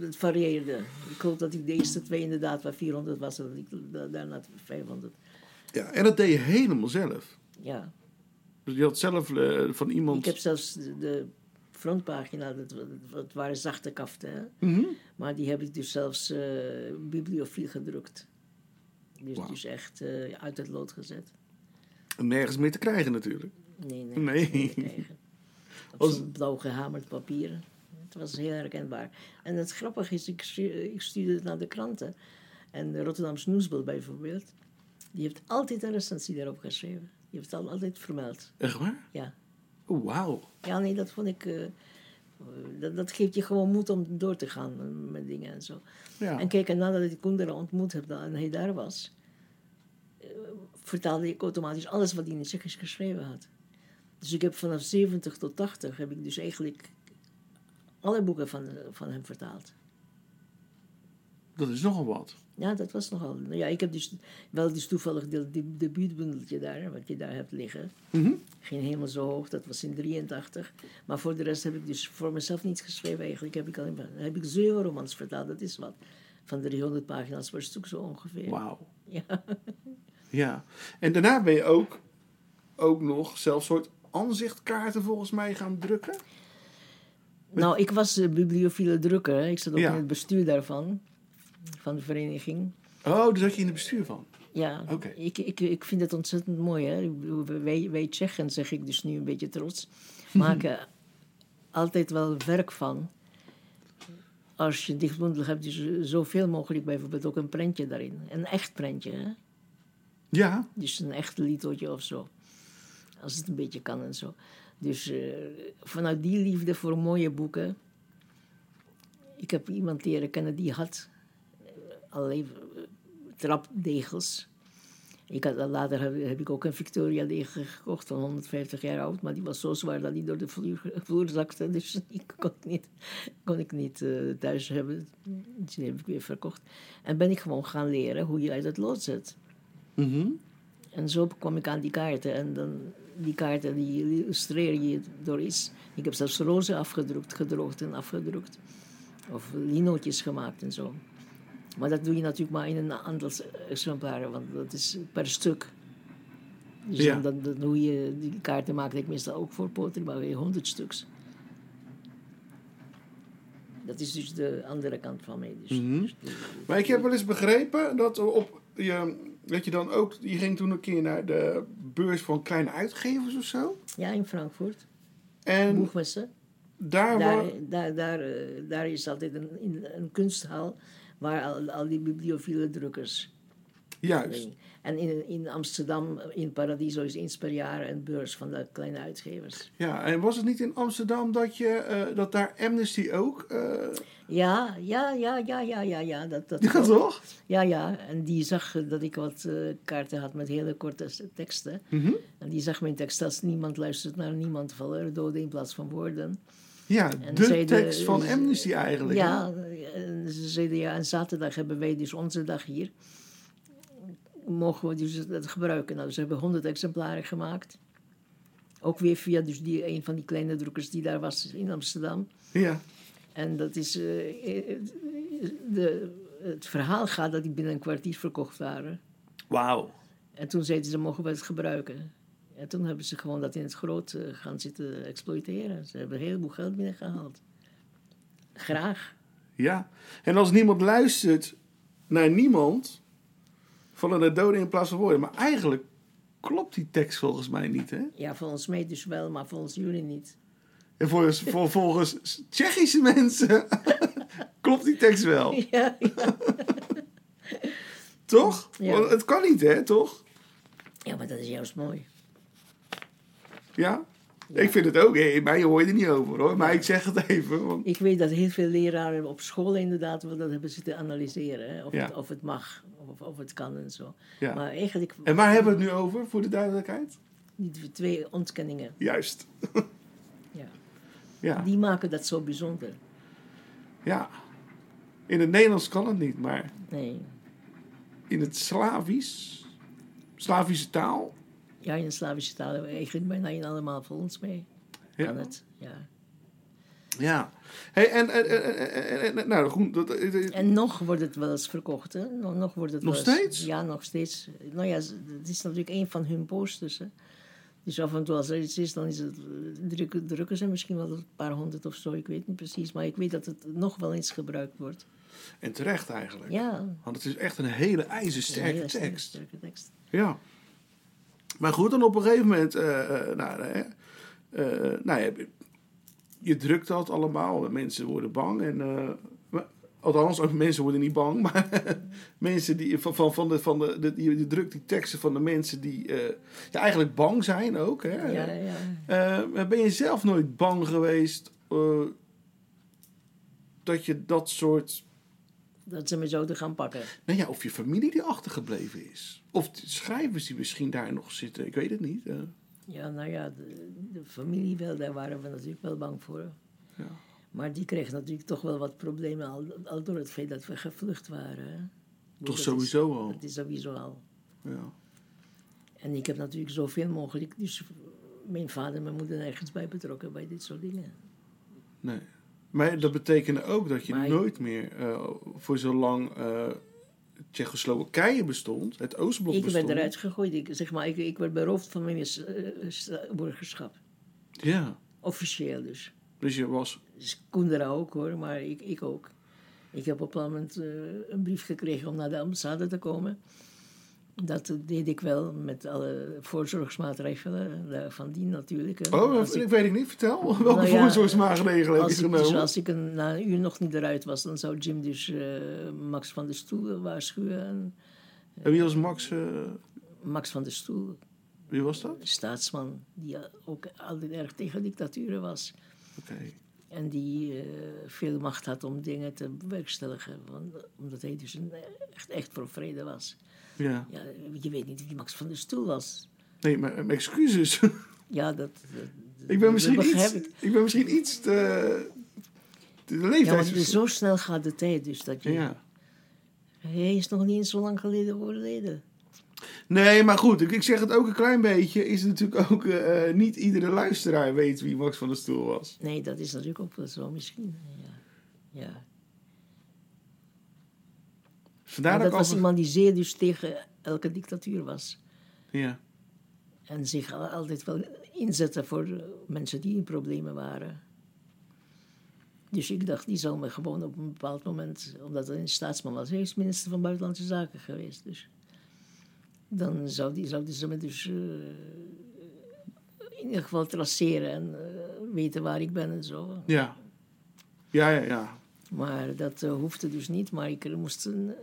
het varieerde. Ik geloof dat ik de eerste twee inderdaad waar 400 was en dat ik da- daarna 500.
Ja, en dat deed je helemaal zelf.
Ja,
Dus je had zelf eh, van iemand...
ik heb zelfs de, de frontpagina, dat, wa- dat waren zachte kaften, hè? maar die heb ik dus zelfs eh bibliofiel gedrukt. Dus,
Wauw.
dus echt eh, uit het lood gezet.
Nergens meer te krijgen natuurlijk.
Nee, nee.
Nee.
niet tegen. Op
Als-
zo'n blauw gehamerd papier. Het was heel herkenbaar. En het grappige is, ik, stu- ik stuurde het naar de kranten. En de Rotterdamse Nieuwsblad bijvoorbeeld, die heeft altijd een recensie daarop geschreven. Die heeft het al- altijd vermeld.
Echt waar?
Ja,
Oh, wauw.
ja nee, dat vond ik... eh, eh, dat, dat geeft je gewoon moed om door te gaan eh, met dingen en zo.
Ja.
En kijk, en nadat ik Koendera ontmoet heb en hij daar was, eh, vertaalde ik automatisch alles wat hij in het Tsjechisch geschreven had. Dus ik heb vanaf 70 tot 80 heb ik dus eigenlijk alle boeken van, eh, van hem vertaald.
Dat is nogal wat.
Ja, dat was nogal. Nou ja, ik heb dus wel dus toevallig de, de debuutbundeltje daar, hè, wat je daar hebt liggen.
Mhm.
Geen helemaal zo hoog, dat was in 83. Maar voor de rest heb ik dus voor mezelf niets geschreven eigenlijk. Heb ik, alleen maar, heb ik zeven romans vertaald, dat is wat. Van 300 pagina's per stuk zo ongeveer.
Wauw.
Ja.
Ja. En daarna ben je ook, ook nog zelfs soort aanzichtkaarten volgens mij gaan drukken.
Nou, ik was eh, bibliofiele drukker. Hè. Ik zat ook
Ja.
in het bestuur daarvan, van de vereniging.
Oh, daar zat je in het bestuur van.
Ja,
Oké.
ik, ik, ik vind het ontzettend mooi. Hè? Ik bedoel, Wij, wij Tsjechen, zeg ik dus nu een beetje trots, maken altijd wel werk van. Als je dichtbundel hebt, dus eh, zoveel mogelijk bijvoorbeeld ook een prentje daarin. Een echt prentje, hè?
Ja.
Dus een echt liedje of zo. Als het een beetje kan en zo. Dus eh, vanuit die liefde voor mooie boeken. Ik heb iemand leren kennen die had eh, allerlei eh, trapdegels. Ik had, eh, later heb, heb ik ook een Victoria degel gekocht van 150 jaar oud. Maar die was zo zwaar dat die door de vloer, vloer zakte. Dus die kon ik niet, kon ik niet eh, thuis hebben. Dus die heb ik weer verkocht. En ben ik gewoon gaan leren hoe je uit het lood zet. En zo kwam ik aan die kaarten. En dan, die kaarten die illustreer je door iets. Ik heb zelfs rozen afgedrukt, gedroogd en afgedrukt. Of linootjes gemaakt en zo. Maar dat doe je natuurlijk maar in een aantal exemplaren, want dat is per stuk. Dus
Ja.
dan, dan, dan hoe je die kaarten maakt, ik meestal ook voor poetry, maar weer honderd stuks. Dat is dus de andere kant van mij. Dus,
Mhm.
dus de-
Maar ik heb wel eens begrepen dat, op je, dat je dan ook... Je ging toen een keer naar de beurs van kleine uitgevers of zo.
ja, in Frankfurt,
En
Boegmessen.
daar,
Daar,
wa-
daar, daar, eh, daar is altijd een, in- een kunsthal waar al, al die bibliophile drukkers.
Juist.
En in, in Amsterdam, in Paradiso, is eens per jaar een beurs van de kleine uitgevers.
Ja, en was het niet in Amsterdam dat, je, eh, dat daar Amnesty ook... eh
Ja, ja, ja, ja, ja, ja, ja. Dat, dat
ja,
klopt.
toch?
Ja, ja. En die zag eh, dat ik wat eh, kaarten had met hele korte s- teksten.
Mhm.
En die zag mijn tekst als niemand luistert naar niemand, vallen er doden in plaats van woorden.
Ja,
En
de
zei de-
tekst van
eh,
Amnesty eigenlijk. hè?
Ja, en ze zeiden, ja, en zaterdag hebben wij dus onze dag hier. Mogen we dus dat gebruiken? Nou, ze hebben honderd exemplaren gemaakt. Ook weer via dus die, een van die kleine drukkers die daar was in Amsterdam.
Ja.
En dat is. eh, de, het verhaal gaat dat die binnen een kwartier verkocht waren.
Wauw.
En toen zeiden ze: mogen we het gebruiken? En toen hebben ze gewoon dat in het groot eh, gaan zitten exploiteren. Ze hebben een heleboel geld binnengehaald. Graag.
Ja. En als niemand luistert naar niemand, vallen er doden in plaats van woorden. Maar eigenlijk klopt die tekst volgens mij niet, hè?
Ja, volgens mij dus wel, maar volgens jullie niet.
En volgens, vol- volgens Tsjechische mensen klopt die tekst wel,
Ja,
toch?
Ja.
Want het kan niet, hè, toch?
ja maar dat is juist mooi.
Ja? Ik vind het ook. Hey, mij hoor je er niet over, hoor. Maar ik zeg het even. Want...
Ik weet dat heel veel leraren op school inderdaad wel dat hebben zitten analyseren. Hè? Of,
Ja.
het, of het mag, of, of het kan en zo.
Ja.
Maar eigenlijk
En waar hebben we het nu over, voor de duidelijkheid?
die twee ontkenningen.
Juist.
Ja.
Ja.
Die maken dat zo bijzonder.
ja. In het Nederlands kan het niet, maar
Nee.
in het Slavisch, Slavische taal.
Ja, in de Slavische taal hebben we eigenlijk bijna in allemaal volgens mij.
Ja.
Kan het, ja.
Ja. Hey, en, en, en- en- en- en- nou, goed. Dat, dat- dat-
En nog wordt het wel eens verkocht, hè. Nog, nog wordt het
Nog
wel eens-
steeds?
Ja, nog steeds. Nou ja, z- het is natuurlijk een van hun posters, hè. Dus af en toe als er iets is, dan is het, eh, drukken, drukken ze misschien wel een paar honderd of zo. Ik weet niet precies, maar ik weet dat het nog wel eens gebruikt wordt.
en terecht eigenlijk.
Ja.
Want het is echt een hele
Een
ijzersterke
hele
tekst.
Sterke tekst.
Ja. Maar goed, dan op een gegeven moment, eh, eh, nou, hè, eh, nou ja, je drukt dat allemaal. en Mensen worden bang. En, eh, maar- althans, ook mensen worden niet bang. Maar mensen die, van, van, van de, van de, de- je, je drukt die teksten van de mensen die, eh, die eigenlijk bang zijn ook. Hè?
Ja, ja.
Eh, maar ben je zelf nooit bang geweest eh, dat je dat soort...
Dat ze me zouden gaan pakken.
Nou ja, of je familie die achtergebleven is. Of de schrijvers die misschien daar nog zitten. Ik weet het niet. eh.
Ja, nou ja, de, de familie wel, daar waren we natuurlijk wel bang voor. Maar die kreeg natuurlijk toch wel wat problemen, al, al door het feit dat we gevlucht waren. hè. Ik bedoel,
Toch
dat
sowieso
is,
al.
Dat is sowieso al.
Ja.
En ik heb natuurlijk zoveel mogelijk, dus mijn vader en mijn moeder nergens bij betrokken bij dit soort dingen.
Nee. Maar dat betekende ook dat je
Maar-
nooit meer eh, voor zolang eh Tsjechoslowakije bestond, het Oostblok
ik
bestond.
werd eruit gegooid, ik, zeg maar, ik, ik werd beroofd van mijn eh, sta- burgerschap.
Ja.
Officieel dus.
Dus je was.
Dus Koendera ook hoor, maar ik, ik ook. Ik heb op een moment eh, een brief gekregen om naar de ambassade te komen. Dat deed ik wel met alle voorzorgsmaatregelen daarvan dien natuurlijk. hè.
Oh,
als
ik,
ik, Nou
weet ik niet. Vertel. Welke
ja,
voorzorgsmaatregelen heb je
als ik, dus
genomen?
als ik een, na een uur nog niet eruit was, dan zou Jim dus eh, Max van der Stoel waarschuwen. En
En wie was Max? eh,
Max van der Stoel,
wie was dat?
een staatsman, die ook altijd erg tegen dictaturen was.
Oké.
En die eh, veel macht had om dingen te bewerkstelligen. Want, omdat hij dus een, echt, echt voor vrede was.
Ja.
Ja, je weet niet wie Max van der Stoel was.
Nee, maar eh, excuses.
Ja, dat... dat-
ik ben
dat
misschien iets.
begrijp
Ik.
ik.
ben misschien iets te. De
Ja, want
leeftijd.
zo snel gaat de tijd dus dat je...
ja.
Hij is nog niet eens zo lang geleden overleden.
Nee, maar goed, ik, ik zeg het ook een klein beetje. Is het natuurlijk ook eh, eh, niet iedere luisteraar weet wie Max van der Stoel was.
Nee, dat is natuurlijk ook wel zo misschien. Ja. ja.
Vandaar
Maar
dat,
dat
ik altijd...
was iemand die zeer dus tegen elke dictatuur was.
Ja,
En zich al- altijd wel inzetten voor eh, mensen die in problemen waren. Dus ik dacht, die zal me gewoon op een bepaald moment, omdat hij een staatsman was, hij is minister van Buitenlandse Zaken geweest. Dus dan zou die, zouden ze me dus eh, in ieder geval traceren en eh, weten waar ik ben en zo.
ja. Ja, ja, ja.
Maar dat eh, hoefde dus niet, maar ik moest een eh,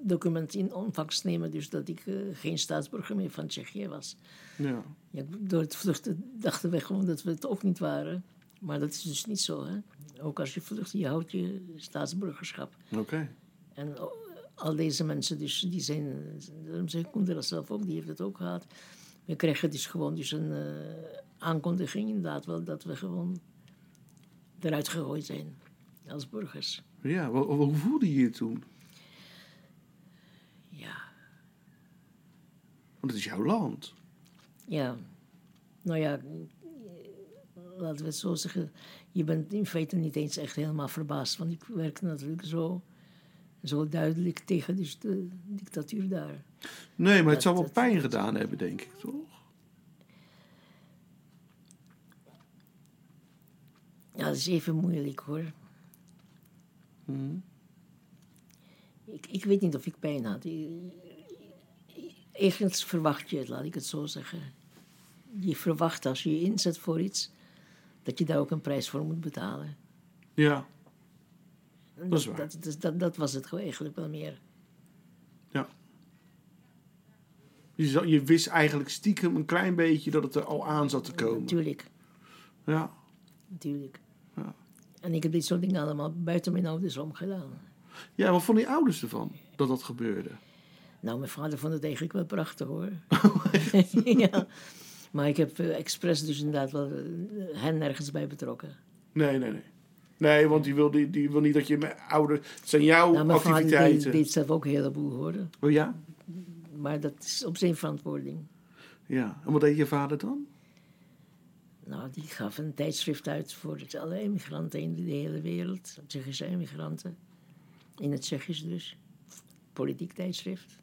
document in ontvangst nemen, dus dat ik eh, geen staatsburger meer van Tsjechië was.
ja.
Ja, door het vluchten dachten wij gewoon dat we het ook niet waren. Maar dat is dus niet zo, hè. Ook als je vlucht, je houdt je staatsburgerschap.
Oké.
En o- al deze mensen, dus, die zijn... Daarom zei Koendera zelf ook, die heeft het ook gehad. We kregen dus gewoon dus een eh, aankondiging inderdaad wel... dat we gewoon eruit gegooid zijn. als burgers.
Ja, wa- wa- hoe voelde je je toen?
Ja.
Want het is jouw land.
ja. Nou ja, eh, laten we het zo zeggen. Je bent in feite niet eens echt helemaal verbaasd. Want ik werkte natuurlijk zo, zo duidelijk tegen dus de dictatuur daar.
Nee, maar het zou
Dat-
wel
dat-
pijn gedaan hebben, denk ik, toch?
Ja, dat is even moeilijk hoor. Ik, ik weet niet of ik pijn had. Ik- ik- Ergens verwacht je het, laat ik het zo zeggen. Je verwacht als je je inzet voor iets, dat je daar ook een prijs voor moet betalen.
Ja.
En
Dat is waar.
Dat, dus dat, dat, dat was het gewoon eigenlijk wel meer.
Ja. Je, za- je wist eigenlijk stiekem een klein beetje dat het er al aan zat te komen.
Natuurlijk,
Ja.
natuurlijk.
Ja.
En ik heb dit soort dingen allemaal buiten mijn dus ouders om gedaan.
Ja, wat vonden je ouders ervan dat dat gebeurde?
Nou, mijn vader vond het eigenlijk wel prachtig hoor. ja. Maar ik heb eh, expres dus inderdaad wel eh, hen nergens bij betrokken.
Nee, nee, nee. Nee, want die wil, die, die wil niet dat je met ouders... Het zijn jouw
Nou, mijn vader
activiteiten.
deed, deed zelf ook een heleboel hoor.
Oh ja?
Maar dat is op zijn verantwoording.
Ja. En wat deed je vader dan?
Nou, die gaf een tijdschrift uit voor het- alle emigranten in de hele wereld. Tsjechische emigranten. In het Tsjechisch dus. Politiek tijdschrift.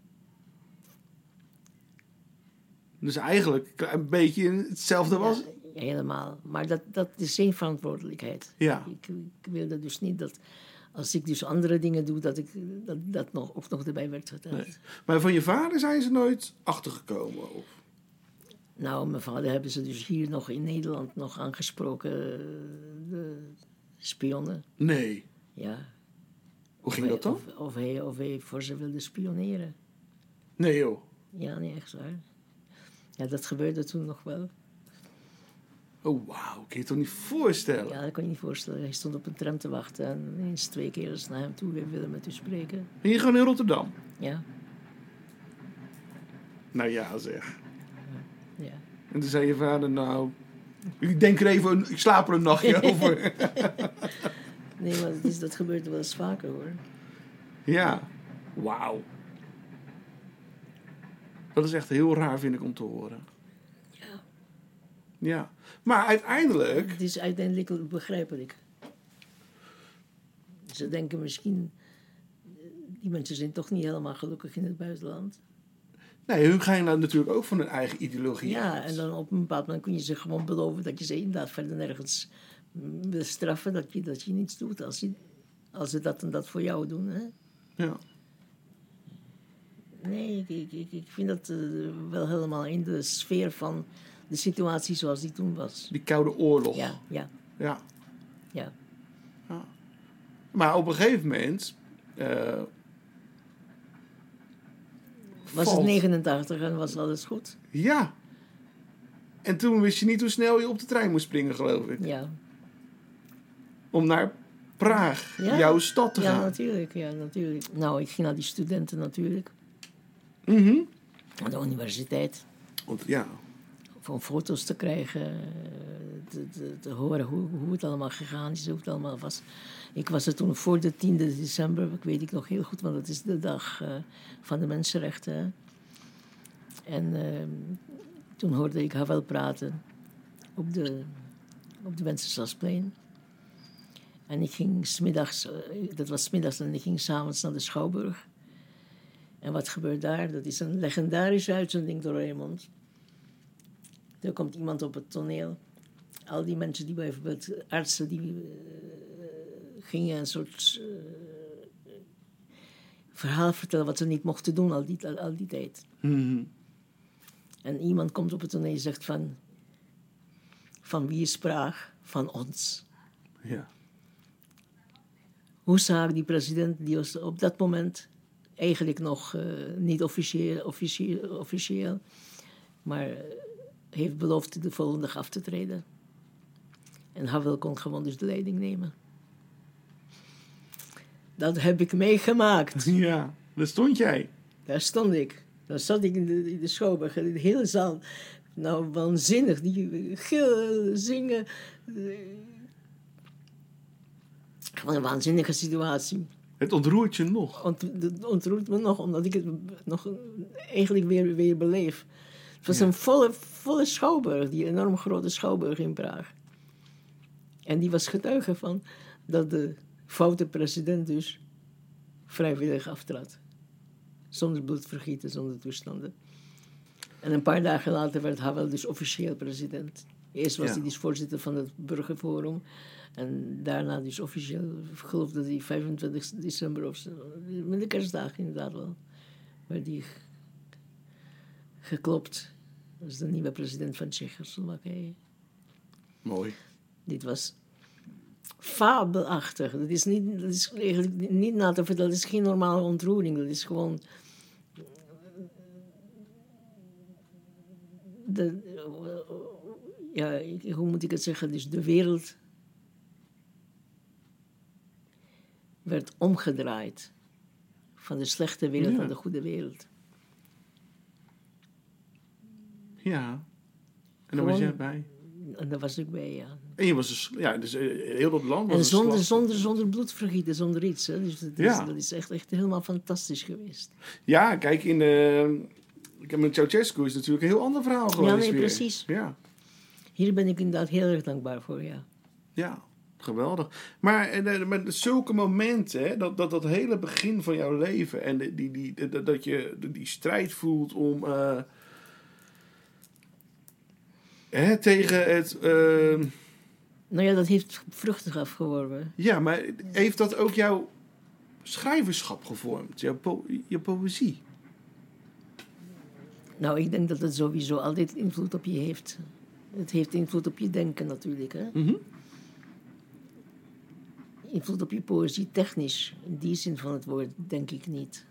Dus eigenlijk een beetje in hetzelfde was...
Ja, helemaal. Maar dat, dat is zijn verantwoordelijkheid.
Ja.
Ik, ik wilde dus niet dat... Als ik dus andere dingen doe, dat ik, dat, dat nog, ook nog erbij werd geteld.
Nee. Maar van je vader zijn ze nooit achtergekomen? Of?
Nou, mijn vader hebben ze dus hier nog in Nederland nog aangesproken. eh, De spionnen,
Nee.
ja.
Hoe ging dat dan?
Of, of, hij, of hij voor ze wilde spioneren.
Nee joh.
Ja, nee, echt waar. Ja, dat gebeurde toen nog wel.
Oh wauw, kun je je toch niet voorstellen?
Ja, dat kan je niet voorstellen. Hij stond op een tram te wachten en ineens twee keer is naar hem toe. We willen met u spreken.
En je gewoon in Rotterdam?
Ja,
Nou ja zeg.
ja.
En toen zei je vader nou... Ik denk er even, ik slaap er een nachtje over.
Nee, maar dat, is, dat gebeurt wel eens vaker hoor.
Ja. Wauw. Dat is echt heel raar vind ik om te horen.
Ja.
Ja. Maar uiteindelijk...
Het is uiteindelijk begrijpelijk. Ze denken misschien, eh, die mensen zijn toch niet helemaal gelukkig in het buitenland.
Nee, hun gaan nou natuurlijk ook van hun eigen ideologie
Ja,
uit.
en dan op een bepaald moment kun je ze gewoon beloven dat je ze inderdaad verder nergens mm, wil straffen, dat je, dat je niets doet als, je, als ze dat en dat voor jou doen. Hè?
Ja.
Nee, ik, ik, ik, ik vind dat eh, wel helemaal in de sfeer van de situatie zoals die toen was.
Die koude oorlog.
Ja, ja,
ja.
ja.
Maar op een gegeven moment. eh,
Was
valt-
het 89 en was alles goed?
Ja. En toen wist je niet hoe snel je op de trein moest springen, geloof ik.
Ja.
Om naar Praag,
Ja.
jouw stad te
Ja,
gaan.
natuurlijk, ja, natuurlijk. Nou, ik ging naar die studenten natuurlijk,
Mhm.
aan de universiteit,
Want ja.
om foto's te krijgen, eh, te, te, te horen hoe, hoe het allemaal gegaan is, hoe het allemaal was. Ik was er toen voor de 10e december, ik weet ik nog heel goed, want dat is de dag eh, van de mensenrechten. hè. En eh, toen hoorde ik haar wel praten op de, op de Wenceslasplein. En ik ging smiddags, eh, dat was smiddags, en ik ging s'avonds naar de Schouwburg. En wat gebeurt daar? Dat is een legendarische uitzending door Raymond. Er komt iemand op het toneel. Al die mensen die bijvoorbeeld artsen, die eh, gingen een soort eh, verhaal vertellen wat ze niet mochten doen al die, al, al die tijd.
Mhm.
En iemand komt op het toneel en zegt van... Van wie is Praag? Van ons.
ja.
Hoe zag die president, die was op dat moment eigenlijk nog eh, niet officieel, officieel, officieel maar eh, heeft beloofd de volgende dag af te treden. En Havel kon gewoon dus de leiding nemen. Dat heb ik meegemaakt.
Ja. Daar stond jij.
Daar stond ik. Daar zat ik in de, in de Schouwburg, in de hele zaal. Nou, waanzinnig. Die gillen, zingen. eh, Wat een waanzinnige situatie.
Het ontroert je nog.
Ont, dat ontroert me nog, omdat ik het nog eigenlijk weer, weer beleef. Het was een volle, volle schouwburg, die enorm grote schouwburg in Praag. En die was getuige van dat de foute president dus vrijwillig aftrad. Zonder bloedvergieten, zonder toestanden. En een paar dagen later werd Havel dus officieel president. Eerst was
Ja.
hij dus voorzitter van het burgerforum. En daarna dus officieel, ik geloof dat hij 25 december of zo, met de kerstdag inderdaad wel, werd hij ge- geklopt als de nieuwe president van Tsjechoslowakije.
Mooi.
Dit was fabelachtig. Dat is, niet, dat is eigenlijk niet na te vertellen. Dat is geen normale ontroering. Dat is gewoon... De, ja, ik- hoe moet ik het zeggen? Dus de wereld werd omgedraaid. Van de slechte wereld
Ja.
naar de goede wereld.
Ja. En daar
Gewoon-
was jij bij.
En daar was ik bij, ja.
En je was dus, ja, dus eh, heel dat land was
En
een
zonder,
slag-
zonder, zonder bloedvergieten, zonder iets. Hè. Dus dat is,
Ja.
dat is echt, echt helemaal fantastisch geweest.
Ja, kijk, in de... Ik heb met Ceausescu is natuurlijk een heel ander verhaal geweest
nee,
weer.
precies.
Ja,
Hier ben ik inderdaad heel erg dankbaar voor, ja.
ja. Geweldig. Maar, en, eh, maar zulke momenten, hè, dat, dat, dat hele begin van jouw leven en die, die, die- dat- dat je die strijd voelt om eh, hè, tegen het. eh,
Nou ja, dat heeft vruchten afgeworpen.
ja, maar heeft dat ook jouw schrijverschap gevormd? Jouw po- je poëzie?
Nou, ik denk dat het sowieso altijd invloed op je heeft. Het heeft invloed op je denken natuurlijk, hè. Invloed op je poëzie technisch. In die zin van het woord, denk ik niet.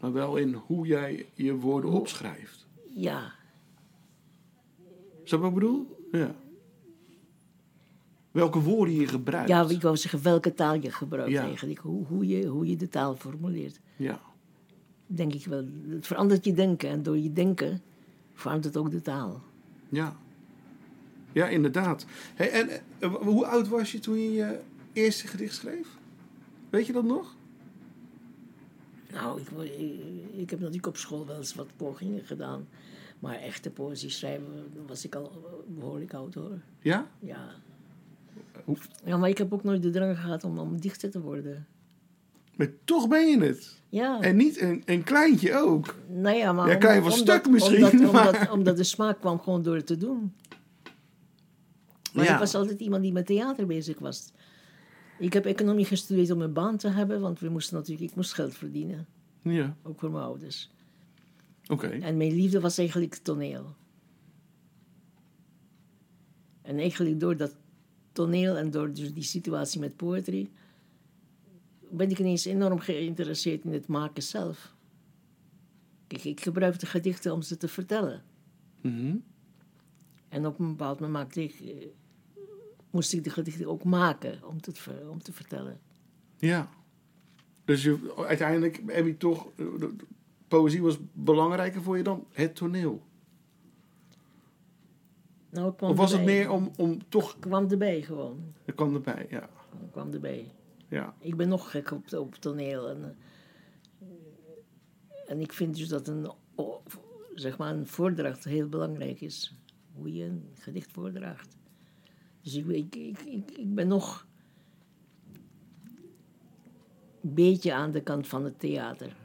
Maar wel in hoe jij je woorden opschrijft.
Ja,
Is dat wat ik bedoel? Ja. Welke woorden je gebruikt.
ja ik wou zeggen welke taal je gebruikt
Ja.
eigenlijk. Hoe, hoe, je, hoe je de taal formuleert.
Ja.
Denk ik wel. Het verandert je denken. En door je denken verandert ook de taal.
Ja. Ja, inderdaad. Hey, en eh, w- hoe oud was je toen je je eerste gedicht schreef? Weet je dat nog?
Nou, ik, wo- ik- ik heb natuurlijk op school wel eens wat pogingen gedaan. Maar echte poëzie schrijven dan was ik al behoorlijk oud hoor.
Ja?
Ja. ja, maar ik heb ook nooit de drang gehad om, om dichter te worden.
Maar toch ben je het.
Ja,
En niet een, een kleintje ook.
nou ja, maar...
Ja,
om-
kan je wel
omdat-
stuk misschien,
Omdat,
maar-
omdat, omdat de smaak kwam gewoon door het te doen. Maar
ja.
ik was altijd iemand die met theater bezig was. Ik heb economie gestudeerd om een baan te hebben, want we moesten natuurlijk, ik moest geld verdienen.
Ja,
Ook voor mijn ouders.
oké.
En mijn liefde was eigenlijk toneel. En eigenlijk door dat toneel en door dus die situatie met poetry... ben ik ineens enorm geïnteresseerd in het maken zelf. Kijk, ik gebruik de gedichten om ze te vertellen.
Mhm.
En op een bepaald moment maakte ik, eh, moest ik de gedichten ook maken om te, ver- om te vertellen.
Ja. Dus je, uiteindelijk heb je toch... eh, de- de- Poëzie was belangrijker voor je dan het toneel.
Nou, ik kwam
Of was het
erbij.
meer om, om toch...
Ik kwam erbij gewoon.
Ik kwam erbij, ja.
Ik kwam erbij.
Ja,
Ik ben nog gek op, op toneel. En, eh, en ik vind dus dat een, o- zeg maar een voordracht heel belangrijk is. Hoe je een gedicht voordraagt. Dus ik, ik, ik, ik, ik ben nog een beetje aan de kant van het theater.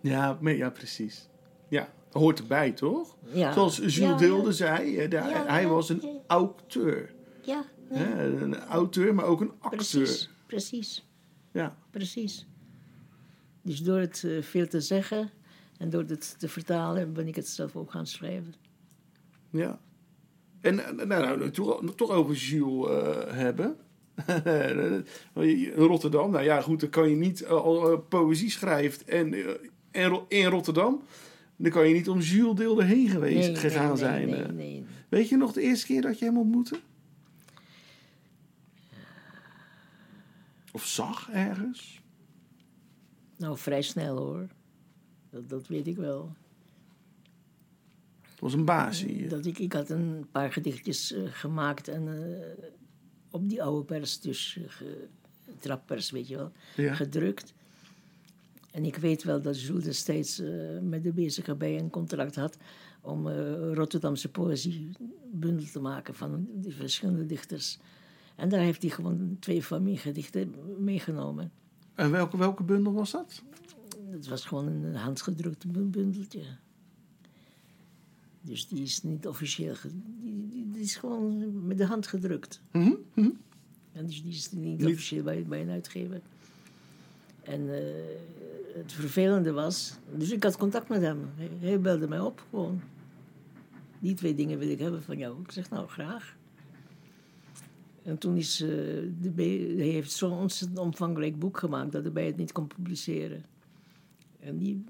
ja, me- ja precies. Ja, hoort erbij, toch?
Ja.
Zoals Jules
Ja, ja.
Deelde zei, eh, daar-
Ja,
hij
ja,
was een
ja.
auteur.
Ja, nee,
Hè, Een auteur, maar ook een acteur.
precies, precies.
Ja,
Precies. Dus door het eh, veel te zeggen en door het te vertalen ben ik het zelf ook gaan schrijven.
ja. En eh, nou, nou, toch, toch over Jules eh, hebben. Rotterdam, nou ja, goed, dan kan je niet eh, al eh, poëzie schrijft en, eh, en Ro- in Rotterdam. Dan kan je niet om Jules Deelde heen geweest, gegaan
nee,
zijn.
Nee,
eh.
nee.
Weet je nog de eerste keer dat je hem ontmoette? Of zag ergens?
Nou, vrij snel hoor. Dat, dat weet ik wel.
Het was een baas hier.
Dat ik, ik had een paar gedichtjes eh, gemaakt en eh, op die oude pers dus eh, ge- trappers, weet je wel,
Ja.
gedrukt. En ik weet wel dat Jules steeds eh, met de BCKB een contract had om eh, Rotterdamse poëzie bundel te maken van die verschillende dichters. En daar heeft hij gewoon twee van mijn gedichten meegenomen.
En welke, welke bundel was dat?
Het was gewoon een handgedrukt bu- bundeltje. Dus die is niet officieel. ge- Die, die, die is gewoon met de hand gedrukt. En dus die is niet
Niet-
officieel bij, bij een uitgever. En eh, het vervelende was. Dus ik had contact met hem. Hij, hij belde mij op gewoon. Die twee dingen wil ik hebben van jou. Ik zeg nou graag. En toen is. eh, de B, hij heeft zo'n ontzettend omvangrijk boek gemaakt dat de B het niet kon publiceren. En die,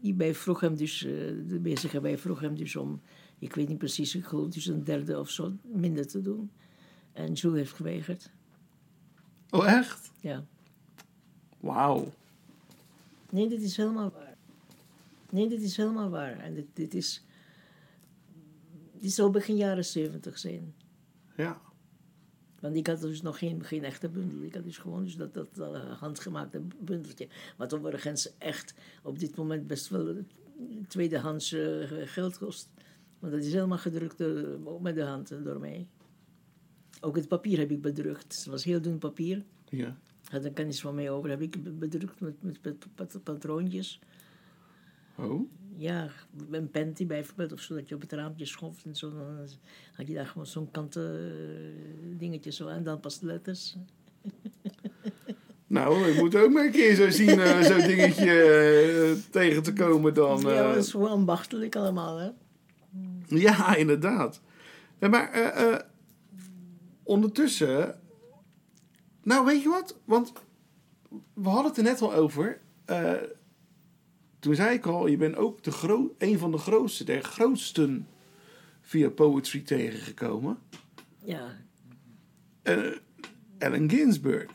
die bij vroeg hem dus, eh, de bezige bij vroeg hem dus om, ik weet niet precies, ik geloof dus een derde of zo, minder te doen. En Jules heeft geweigerd.
Oh, echt?
Ja.
Wauw.
Nee, dit is helemaal waar. Nee, dit is helemaal waar. En dit, dit is. Dit zou begin jaren zeventig zijn.
Ja.
Want ik had dus nog geen, geen echte bundel. Ik had dus gewoon dus dat, dat eh, handgemaakte bundeltje. Wat overigens echt op dit moment best wel tweedehands eh, geld kost. Want dat is helemaal gedrukt eh, ook met de hand eh, door mij. Ook het papier heb ik bedrukt. Het was heel dun papier.
Ja.
Had een kennis van mij over. Heb ik be- bedrukt met, met, met pat- patroontjes.
Oh.
Ja, een panty bijvoorbeeld. Of zo dat je op het raampje schoft en zo. Dan had je daar gewoon zo'n kanten eh, dingetje zo. En dan pas de letters.
Nou, ik moet ook maar een keer zo zien, eh, zo'n dingetje eh, tegen te komen dan. eh.
ja, dat is gewoon ambachtelijk allemaal, hè?
Ja, inderdaad. Ja, maar eh, eh, ondertussen. Nou, weet je wat? Want we hadden het er net al over. Eh, toen zei ik al, je bent ook de gro- een van de grootste, der grootsten via poetry tegengekomen.
Ja.
Eh Allen Ginsberg.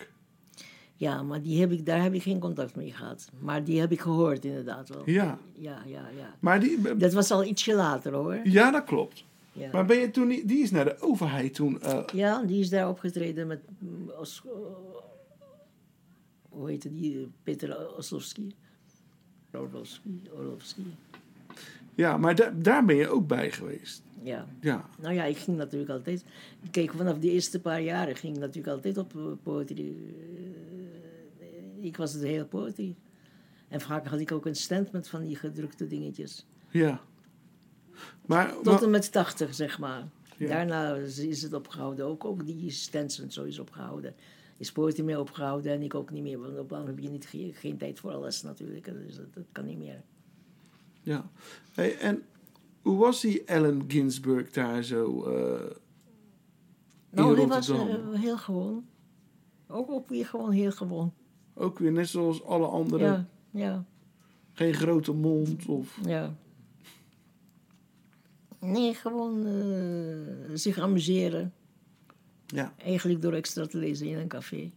Ja, maar die heb ik, daar heb ik geen contact mee gehad. Maar die heb ik gehoord, inderdaad wel.
Ja,
Ja, ja, ja.
maar die,
Dat was al ietsje later, hoor.
ja, dat klopt. Maar
Ja,
ben je toen, niet- die is naar de overheid toen. eh,
ja die is daar opgetreden met... mm, Os, hoe heette die? eh, Peter Oslowski. Orlovski, Orlovski.
ja, maar da- daar ben je ook bij geweest.
Ja.
Ja,
Nou ja, ik ging natuurlijk altijd... Kijk, vanaf de eerste paar jaren ging ik natuurlijk altijd op eh, poetry. Eh, Ik was het hele poetry. En vaak had ik ook een stand met van die gedrukte dingetjes.
ja. Maar,
Tot
maar-
en met 80, zeg maar.
Ja.
Daarna is is het opgehouden. Ook, ook die stands en zo is opgehouden. Is poetry meer opgehouden en ik ook niet meer. Want op een heb je niet, ge- geen tijd voor alles natuurlijk. Dus dat, dat kan niet meer.
Ja. Hey, en hoe was die Allen Ginsberg daar zo? eh,
Nou, die was
Rotterdam.
eh, heel gewoon. Ook, ook weer gewoon heel gewoon.
ook weer net zoals alle anderen.
Ja, ja.
Geen grote mond of...
Ja. Nee, gewoon eh, zich amuseren.
Ja.
Eigenlijk door extra te lezen in een café.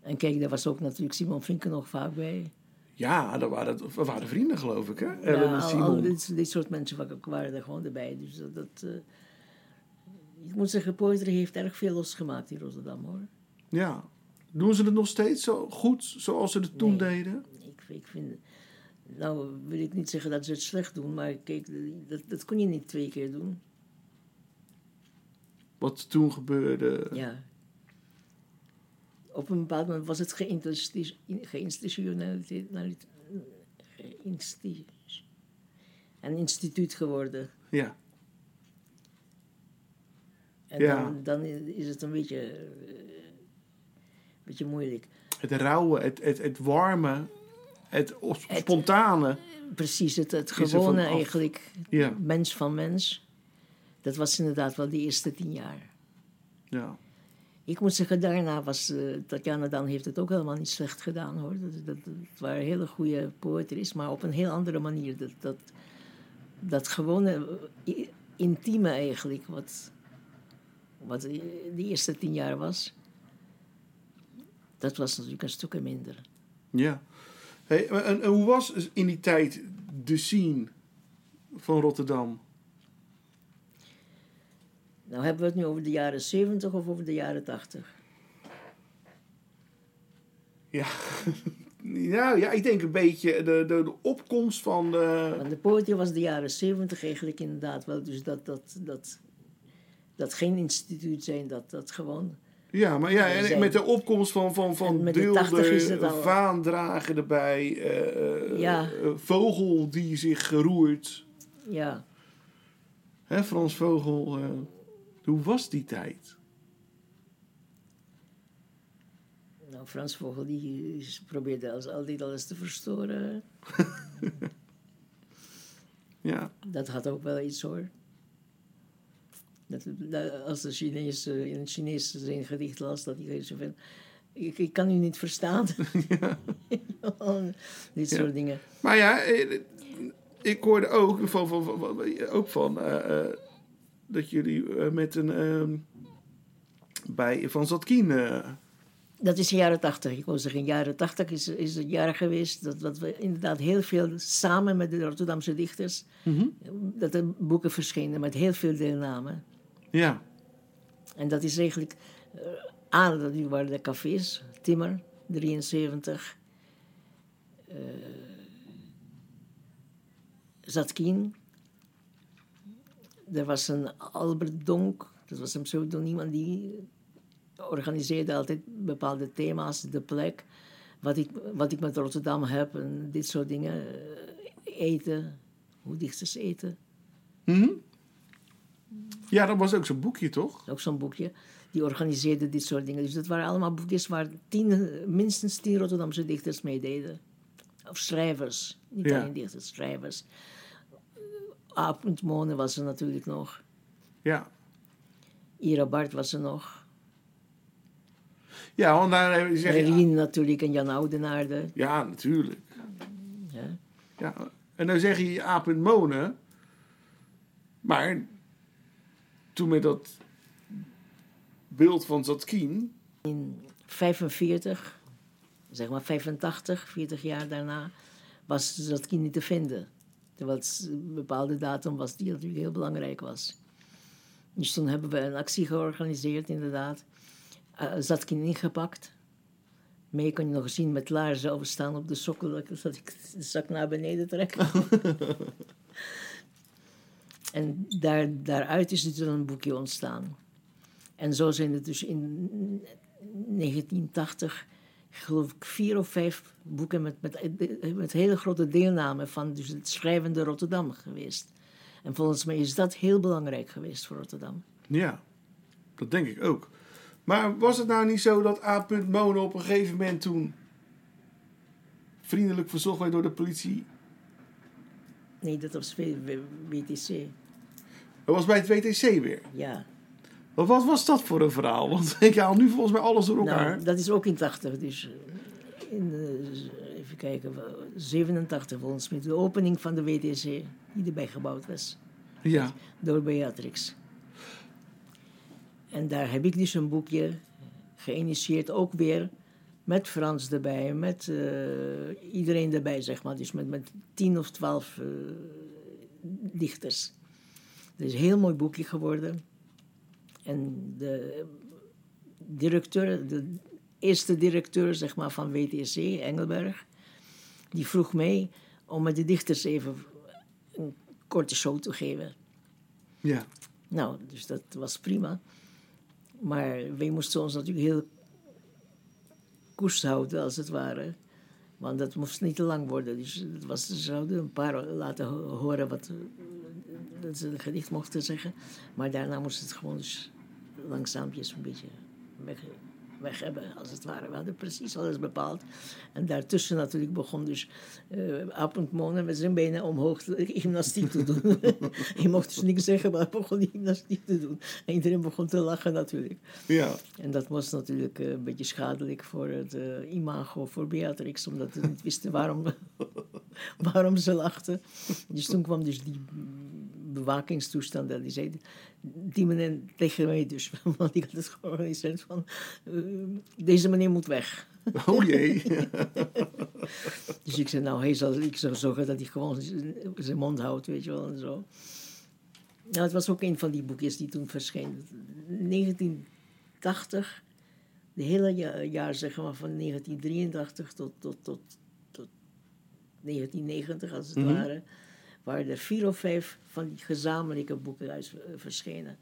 En kijk, daar was ook natuurlijk Simon Vinken nog vaak bij.
Ja, dat waren, dat waren vrienden geloof ik hè?
Ja,
Allen en
al, al
Simon.
Nou, oh, dit, dit soort mensen wa- waren er gewoon erbij. Dus dat, dat, eh, ik moet zeggen, poëtry heeft erg veel losgemaakt in Rotterdam hoor.
Ja. Doen ze het nog steeds zo goed zoals ze het toen deden?
Ik, ik vind, nou wil ik niet zeggen dat ze het slecht doen, maar kijk, dat, dat kon je niet twee keer doen.
Wat toen gebeurde.
Ja. Op een bepaald moment was het geïnstitu- geïnstitutionaliseerd. geïnsti- Een instituut geworden.
Ja.
En
Ja.
dan, dan is het een beetje, eh, beetje moeilijk.
Het rauwe, het, het, het warme, het os- spontane.
Precies, het, het
er
gewone
vanaf.
eigenlijk.
Ja.
Mens van mens. Dat was inderdaad wel de eerste tien jaar.
Ja.
Ik moet zeggen, daarna was eh, Tatjana Dan heeft het ook helemaal niet slecht gedaan hoor. Dat, dat, het waren hele goede poëtries, maar op een heel andere manier. Dat, dat, dat gewone, eh, i- intieme eigenlijk, wat, wat eh, de eerste tien jaar was. Dat was natuurlijk een stukje minder.
Ja. Hey, en, en hoe was in die tijd de scene van Rotterdam?
Nou hebben we het nu over de jaren 70 of over de jaren 80?
Ja. Nou ja, ik denk een beetje de, de, de opkomst van de...
Want de poëzie was de jaren zeventig eigenlijk inderdaad wel. Dus dat, dat, dat, dat geen instituut zijn, dat, dat gewoon...
Ja, maar ja, en
Zijn.
met de opkomst van, van,
En
van
met de 80 is
deelder,
het al-
vaandragen erbij, eh, eh,
Ja.
eh, vogel die zich roert.
Ja,
Hè, Frans Vogel, eh, hoe was die tijd?
nou, Frans Vogel die is- probeerde als, altijd alles te verstoren.
Ja,
Dat had ook wel iets hoor. Dat, dat- als de Chinees eh, in het Chinees zijn gedicht las, dat ik zo van... Ik, ik kan u niet verstaan. Dit soort dingen.
maar ja, eh, ik hoorde ook van, van, van, van- ook van eh, eh, dat jullie eh, met een ehm, bij Van Zatkin... eh,
Dat is de jaren tachtig. Ik wou zeggen, jaren tachtig is, is het jaar geweest dat, dat we inderdaad heel veel samen met de Rotterdamse dichters, dat er boeken verschenen met heel veel deelname.
ja,
En dat is eigenlijk, eh, aan dat die waren de cafés, Timmer, 73, eh, Zatkin. Er was een Albert Donk, dat was een pseudoniem, en die organiseerde altijd bepaalde thema's, de plek, wat ik, wat ik met Rotterdam heb en dit soort dingen. eh, Eten, hoe dichters eten,
ja, dat was ook zo'n boekje, toch?
ook zo'n boekje. Die organiseerde dit soort dingen. Dus dat waren allemaal boekjes waar tien, minstens tien Rotterdamse dichters meededen. Of schrijvers, niet
Ja.
alleen dichters, schrijvers. Apentmonen was er natuurlijk nog.
Ja.
Ira Bart was er nog.
Ja, want daar hebben ze gezegd,
Merlin natuurlijk en Jan Oudenaarde.
Ja, natuurlijk.
Ja.
Ja. En dan zeg je aap en monen. Maar toen met dat beeld van Zatkin.
In 45, zeg maar 85, 40 jaar daarna, was Zatkin niet te vinden. Terwijl het een bepaalde datum was die natuurlijk heel belangrijk was. Dus toen hebben we een actie georganiseerd, inderdaad. Eh, Zatkin ingepakt. Mee kon je nog zien met laarzen overstaan op de sokkel, dat ik- dat ik de zak naar beneden trek. en daar, daaruit is dus een boekje ontstaan. En zo zijn er dus in 1980, geloof ik, vier of vijf boeken met, met, met hele grote deelname van dus het schrijvende Rotterdam geweest. En volgens mij is dat heel belangrijk geweest voor Rotterdam.
Ja, dat denk ik ook. Maar was het nou niet zo dat aap en monen op een gegeven moment toen... vriendelijk verzocht werd door de politie?
Nee, dat was W- W- WTC.
Dat was bij het WTC weer.
Ja.
Maar wat was dat voor een verhaal? Want ik haal nu volgens mij alles door elkaar.
Nou, dat is ook in 80. Dus in, eh, even kijken, 87 volgens mij. De opening van de WTC, die erbij gebouwd was.
Ja.
door Beatrix. En daar heb ik dus een boekje geïnitieerd, ook weer met Frans erbij, met eh, iedereen erbij, zeg maar. Dus met, met tien of twaalf eh, dichters. Het is een heel mooi boekje geworden. En de directeur, de eerste directeur zeg maar, van WTC, Engelberg, die vroeg mij om met de dichters even een korte show te geven.
Ja.
Nou, dus dat was prima. Maar wij moesten ons natuurlijk heel koest houden, als het ware. Want dat moest niet te lang worden. Dus het was, ze zouden een paar laten ho- horen wat, eh, dat ze een gedicht mochten zeggen. Maar daarna moest het gewoon dus langzaampjes een beetje weg, weg hebben, als het ware. We hadden precies alles bepaald. En daartussen natuurlijk begon dus eh Apentmonen met zijn benen omhoog te- gymnastiek te doen. Je mocht dus niks zeggen, maar hij begon die gymnastiek te doen. En iedereen begon te lachen natuurlijk.
Ja.
En dat was natuurlijk eh, een beetje schadelijk voor het eh, imago, voor Beatrix, omdat ze niet wisten waarom, waarom ze lachten. Dus toen kwam dus die bewakingstoestand en die zei die meneer tegen mij dus, want ik had het georganiseerd van, eh, deze meneer moet weg.
Oh jee.
Dus ik zei, nou, hij zal, ik zal zorgen dat hij gewoon z- zijn mond houdt, weet je wel, en zo. Nou, het was ook een van die boekjes die toen verscheen. 1980 de hele ja- jaar zeg maar, van 1983 tot, tot, tot, tot 1990, als het ware, waren er vier of vijf van die gezamenlijke boeken uit, eh, verschenen.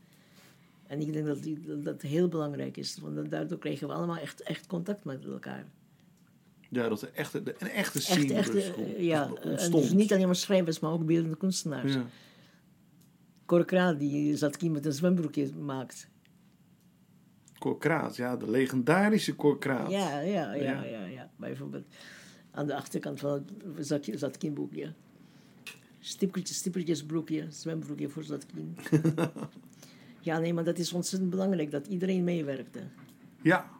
En ik denk dat die, dat dat heel belangrijk is, want dan- daardoor kregen we allemaal echt, echt contact met elkaar.
Ja, dat er echt een echte
Echt,
scene
echt,
dus
eh,
ont-
ja. En
ontstond.
dus niet alleen maar schrijvers, maar ook beeldende kunstenaars.
Ja.
Cor Kraal, die zat hier met een zwembroekje maakt.
Cor Kraat, ja, de legendarische Cor Kraat.
Ja,
Ja.
ja, ja, ja, ja. Bijvoorbeeld aan de achterkant van het zakje zat kindboekje. Stipkertjes, stippertjesbroekje, zwembroekje voor zat kind. ja, nee, maar dat is ontzettend belangrijk, dat iedereen meewerkte.
Ja.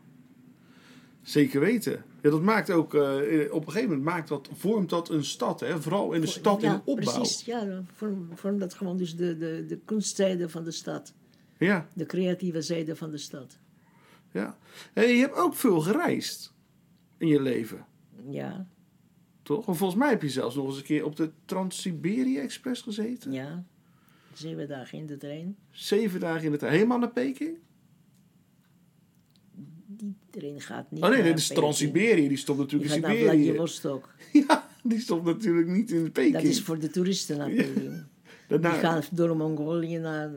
Zeker weten. Ja, dat maakt ook, eh, op een gegeven moment maakt dat, vormt dat een stad, hè? vooral in de stad
ja,
in de opbouw.
Precies, ja, vorm, vorm dat gewoon dus de, de, de kunstzijde van de stad.
Ja,
De creatieve zijde van de stad.
ja. En je hebt ook veel gereisd in je leven,
Ja,
toch? Want volgens mij heb je zelfs nog eens een keer op de Trans-Siberië Express gezeten.
ja. Zeven dagen in de trein.
Zeven dagen in het helemaal naar Peking. Oh,
Die trein gaat niet
Oh nee,
naar
nee, dat is
Peking.
Trans-Siberië, die stond
Die
natuurlijk
gaat
in
naar
Siberië.
Vladivostok.
Ja, die stond natuurlijk niet in Peking.
Dat is voor de toeristen naar Peking.
Daarna-
Die gaan door Mongolië naar,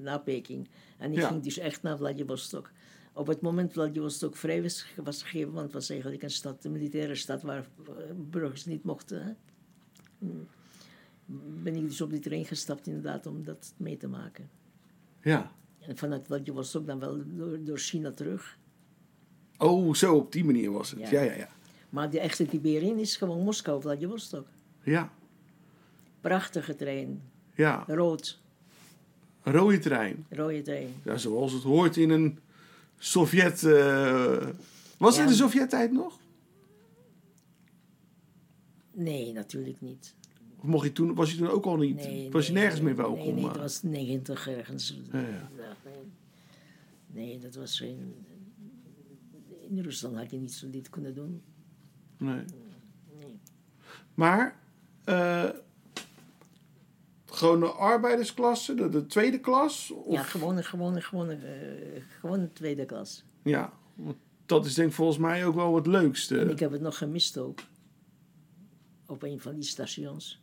naar Peking. En ik
Ja.
ging dus echt naar Vladivostok. Op het moment Vladivostok vrij was, was gegeven, want het was eigenlijk een stad, een militaire stad waar eh, burgers niet mochten. Hè? Hmm. Ben ik dus op die trein gestapt inderdaad om dat mee te maken.
Ja.
En vanuit Vladivostok dan wel door, door China terug.
Oh, zo op die manier was het. Ja,
Ja.
ja, ja.
Maar de echte Tiberian is gewoon Moskou, Vladivostok.
Ja,
Prachtige trein.
ja.
Rood,
Rode trein.
rode trein.
Ja, zoals het hoort in een Sovjet... eh, Was het in
Ja.
de Sovjet-tijd nog?
Nee, natuurlijk niet.
Of mocht je toen, was je toen ook al niet...
Nee,
was je
nee,
nergens
nee,
meer welkom?
Nee, nee,
maar-
het was 90 ergens.
ja.
nee. nee, dat was geen... In Rusland had je niet zo dit kunnen doen.
Nee. Maar... eh, gewoon de arbeidersklasse, de, de tweede klas? Of,
Ja, gewoon, gewoon, gewoon, eh, gewoon de tweede klas.
Ja, want Dat is denk ik volgens mij ook wel het leukste.
Ik heb het nog gemist ook. Op een van die stations.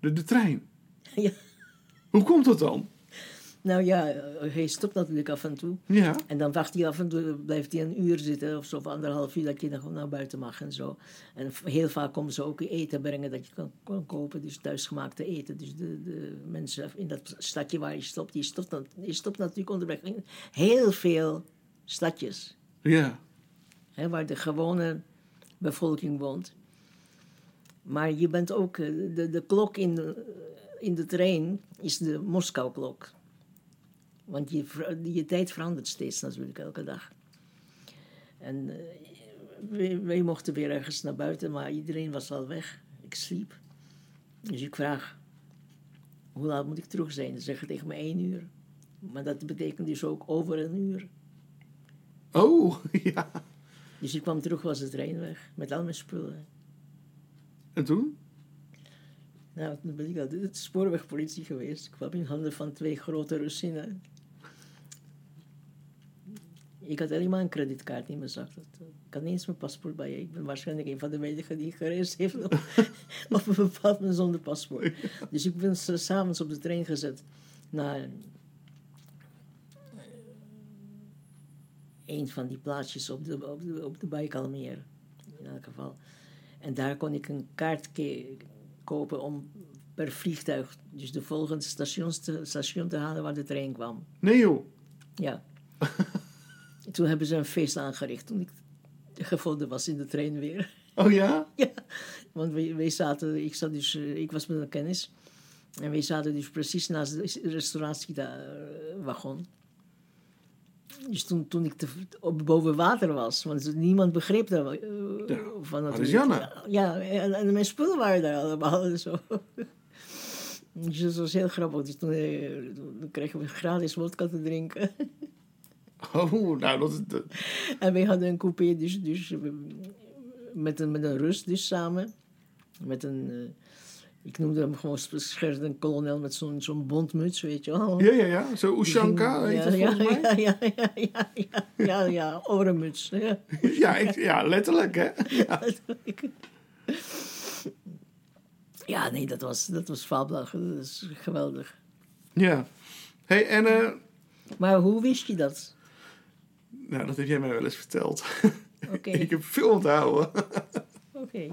De, de trein.
ja.
Hoe komt dat dan?
Nou ja, eh, hij stopt natuurlijk af en toe.
Ja.
En dan wacht hij af en toe, blijft hij een uur zitten of zo, of anderhalf uur, dat je dan gewoon naar buiten mag en zo. En v- heel vaak komen ze ook eten brengen dat je kan, kan kopen, dus thuisgemaakte eten. Dus de, de mensen in dat stadje waar je stopt, die stopt, dan- die stopt natuurlijk onderweg in heel veel stadjes,
Ja.
hè, waar de gewone bevolking woont. Maar je bent ook, eh, de, de klok in de, in de trein is de Moskou-klok. Want je, ver- je tijd verandert steeds natuurlijk elke dag. En eh, wij, wij mochten weer ergens naar buiten, maar iedereen was al weg. Ik sliep. Dus ik vraag, hoe laat moet ik terug zijn? Ze zeggen tegen me één uur. Maar dat betekent dus ook over een uur.
Oh, ja.
Dus ik kwam terug, was de trein weg, met al mijn spullen.
En toen?
Nou, toen ben ik al de spoorwegpolitie geweest. Ik kwam in handen van twee grote Russinnen. Ik had alleen maar een creditkaart in mijn zak. Dat, eh, ik had niet eens mijn paspoort bij je. Ik ben waarschijnlijk een van de weinigen die gereisd heeft op, op een bepaald moment zonder paspoort. Dus ik ben s- s'avonds op de trein gezet naar eh, een van die plaatsjes op de, op de, op de Baikalmeer. In elk geval. En daar kon ik een kaart ke- kopen om per vliegtuig dus de volgende stations te, station te halen waar de trein kwam.
Nee joh.
Ja. toen hebben ze een feest aangericht toen ik gevonden was in de trein weer.
Oh ja?
ja, want wij, wij zaten, ik, zat dus, eh, ik was met een kennis. En wij zaten dus precies naast de restauratiewagon. Dus toen, toen ik te, op, boven water was, want niemand begreep daar eh, van.
waar is
natuurlijk.
Janne?
Ja, en, en mijn spullen waren daar allemaal en zo. Dus dat was heel grappig. Dus toen, eh, toen kregen we gratis vodka te drinken.
Oh, nou dat is... dat-
En wij hadden een coupé, dus, dus eh, met, een, met een Rus dus samen. Met een eh, Ik noemde hem gewoon scherp een kolonel met zo'n zo'n bontmuts, weet je wel.
Ja, ja, ja. Zo Ushanka heet
ja,
dat
ja,
volgens mij.
ja, ja, ja, ja, ja, ja, ja, orenmuts. Ja.
Ja, ik, ja, letterlijk, hè? Ja.
Ja, nee, dat was, dat was fabelachtig. Dat is geweldig.
ja. hey, en... eh,
Maar hoe wist je dat?
nou, dat heb jij mij wel eens verteld.
Oké.
ik heb veel onthouden.
Oké.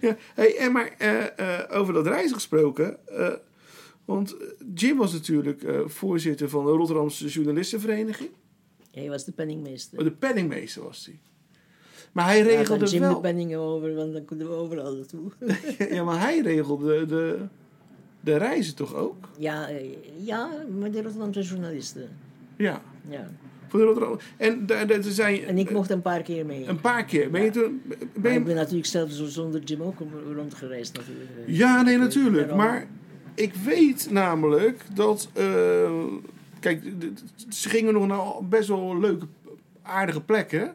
ja. hey, en maar eh, eh, over dat reizen gesproken... eh, want Jim was natuurlijk eh, voorzitter van de Rotterdamse Journalistenvereniging.
Hij was de penningmeester.
Oh, De penningmeester was hij. Maar hij
Ja,
regelde
dan Jim de
wel...
penningen over, want dan konden we overal naartoe.
Ja, maar hij regelde de, de reizen toch ook?
ja, eh, ja, maar de Rotterdamse journalisten.
Ja.
Ja.
Voor de Rotterdam. En daar daar- daar zijn...
En ik mocht een paar keer mee.
Een paar keer. Ben je toen... Ben
Maar
je-
ik ben natuurlijk zelf zo zonder Jim ook rondgereisd natuurlijk.
Ja, nee, natuurlijk.
Daarom.
Maar ik weet namelijk dat... eh, kijk, d- d- ze gingen nog naar best wel leuke, aardige plekken.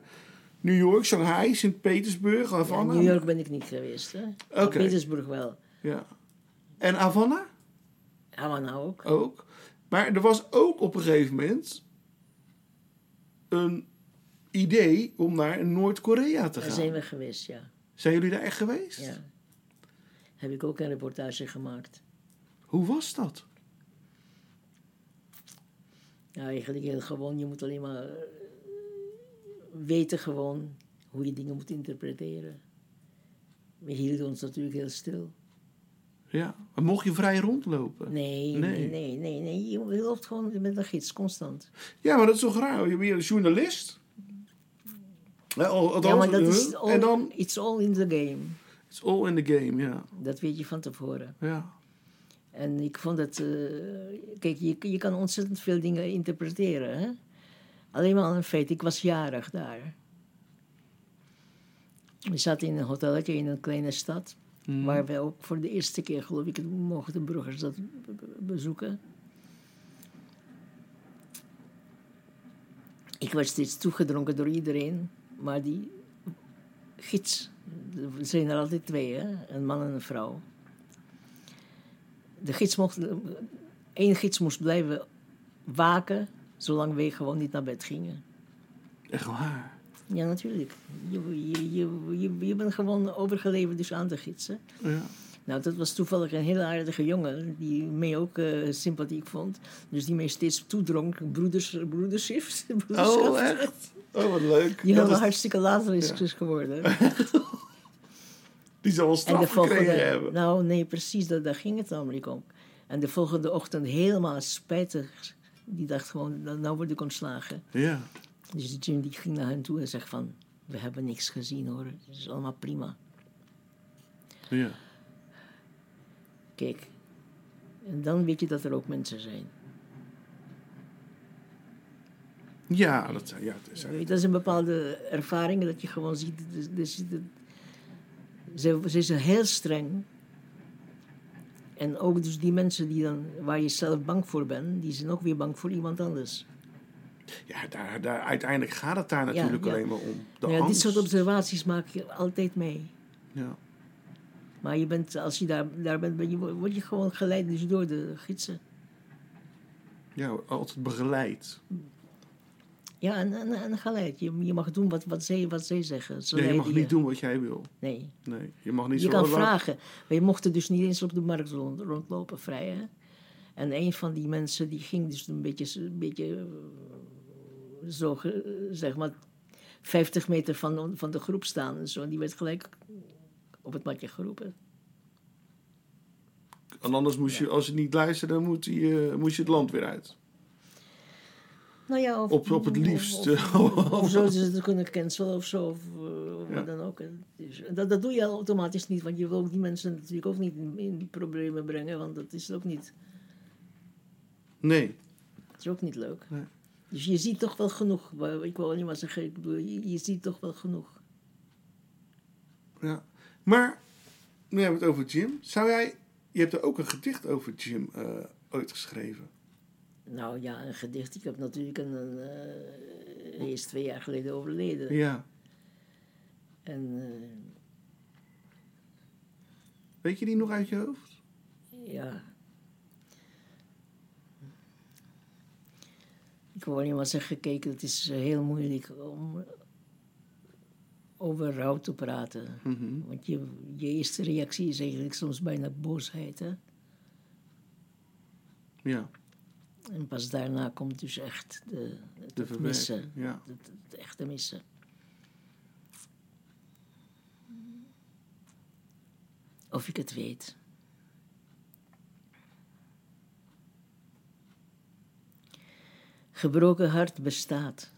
New York, Shanghai, Sint-Petersburg,
Ja, in
Havana.
New York ben ik niet geweest. Hè. Maar
eh? Oké.
Petersburg wel.
Ja. En Havana
Havana ook.
ook. Maar er was ook op een gegeven moment... een idee om naar Noord-Korea te
Daar
gaan.
zijn we geweest, ja.
Zijn jullie daar echt geweest?
ja. Heb ik ook een reportage gemaakt.
Hoe was dat?
Ja, eigenlijk heel gewoon. Je moet alleen maar eh, weten gewoon hoe je dingen moet interpreteren. We hielden ons natuurlijk heel stil.
Ja. Maar mocht je vrij rondlopen?
Nee,
Nee.
nee, nee, nee. nee, Je loopt gewoon met een gids, constant.
Ja, maar dat is toch raar? Je bent een journalist. Hè, al- althans,
ja, maar dat is
huh?
all,
En dan...
it's all in the game.
It's all in the game, ja.
Dat weet je van tevoren.
ja.
En ik vond het... eh, kijk, je, je kan ontzettend veel dingen interpreteren. Hè? Alleen maar een feit. Ik was jarig daar. We zaten in een hotelletje in een kleine stad. Waar we ook voor de eerste keer, geloof ik, mochten de burgers dat be- be- bezoeken. Ik werd steeds toegedronken door iedereen. Maar die gids... Er zijn er altijd twee, hè? Een man en een vrouw. De gids mocht, eh, één gids moest blijven waken zolang wij gewoon niet naar bed gingen.
Echt waar.
Ja, natuurlijk. Je, je, je, je, je bent gewoon overgeleverd dus aan de gidsen.
Ja.
Nou, dat was toevallig een heel aardige jongen die mij ook eh, sympathiek vond. Dus die mij steeds toedronk, broeders, broederschap. broederschap.
Oh, echt? Oh, wat leuk.
Die
Dat
hadden
is-
hartstikke later is is geworden.
die zal wel
En de
straf
volgende,
gekregen hebben.
nou nee, precies, dat, daar ging het namelijk om. En de volgende ochtend helemaal spijtig. Die dacht gewoon, nou nou word ik ontslagen.
Ja.
Dus Jim die ging naar hen toe en zegt van, we hebben niks gezien hoor, het is allemaal prima.
Ja.
Kijk, en dan weet je dat er ook mensen zijn.
Ja, dat zijn... Ja, dat zijn
Weet je, Dat is een bepaalde ervaring dat je gewoon ziet. dus- dus- dat- ze, ze is heel streng. En ook dus die mensen die dan, waar je zelf bang voor bent, die zijn ook weer bang voor iemand anders.
ja daar, daar, uiteindelijk gaat het daar natuurlijk
ja.
alleen maar om. De
Ja, dit
angst.
soort observaties maak je altijd mee.
Ja.
Maar je bent, als je daar, daar bent, ben je, word je gewoon geleid dus door de gidsen.
ja, altijd begeleid.
Ja, en, en, en geleid. Je, je mag doen wat, wat, zij, wat zij zeggen. Ze
Ja, je
leiden
mag niet doen wat jij wil.
Nee,
Nee, je mag niet
je
zo...
kan vragen. Maar je mocht er dus niet eens op de markt rond, rondlopen, vrij. Hè? En een van die mensen die ging dus een beetje, een beetje eh, zo, ge- zeg maar, 50 meter van, van de groep staan en zo. En die werd gelijk op het matje geroepen.
En anders moest je, als je niet luisterde, dan moet je, eh, moest je het land weer uit.
Nou ja, of,
Op, op het liefst.
Of,
eh,
of zo, ze het kunnen cancelen of zo, of, eh, of
Ja.
wat dan ook. En dus- en dat, dat doe je automatisch niet, want je wil ook die mensen natuurlijk ook niet in, in problemen brengen, want dat is ook niet,
nee.
dat is ook niet leuk.
Nee.
Dus je ziet toch wel genoeg. Maar Ik wil niet maar zeggen, ik bedoel, je, je ziet toch wel genoeg.
Ja. Maar, nu hebben we het over Jim. Zou jij, je hebt er ook een gedicht over Jim eh, ooit geschreven.
Nou ja, een gedicht. Ik heb natuurlijk een, een eh, hij is twee jaar geleden overleden.
Ja.
En eh,
Weet je die nog uit je hoofd?
ja. Ik heb alleen maar zeggen gekeken, het is eh, heel moeilijk om over rouw te praten. Want je, je eerste reactie is eigenlijk soms bijna boosheid. Hè?
Ja,
En pas daarna komt dus echt de, het,
de
het missen.
verwerking. Ja.
Het, het echte missen. Of ik het weet. Gebroken hart bestaat.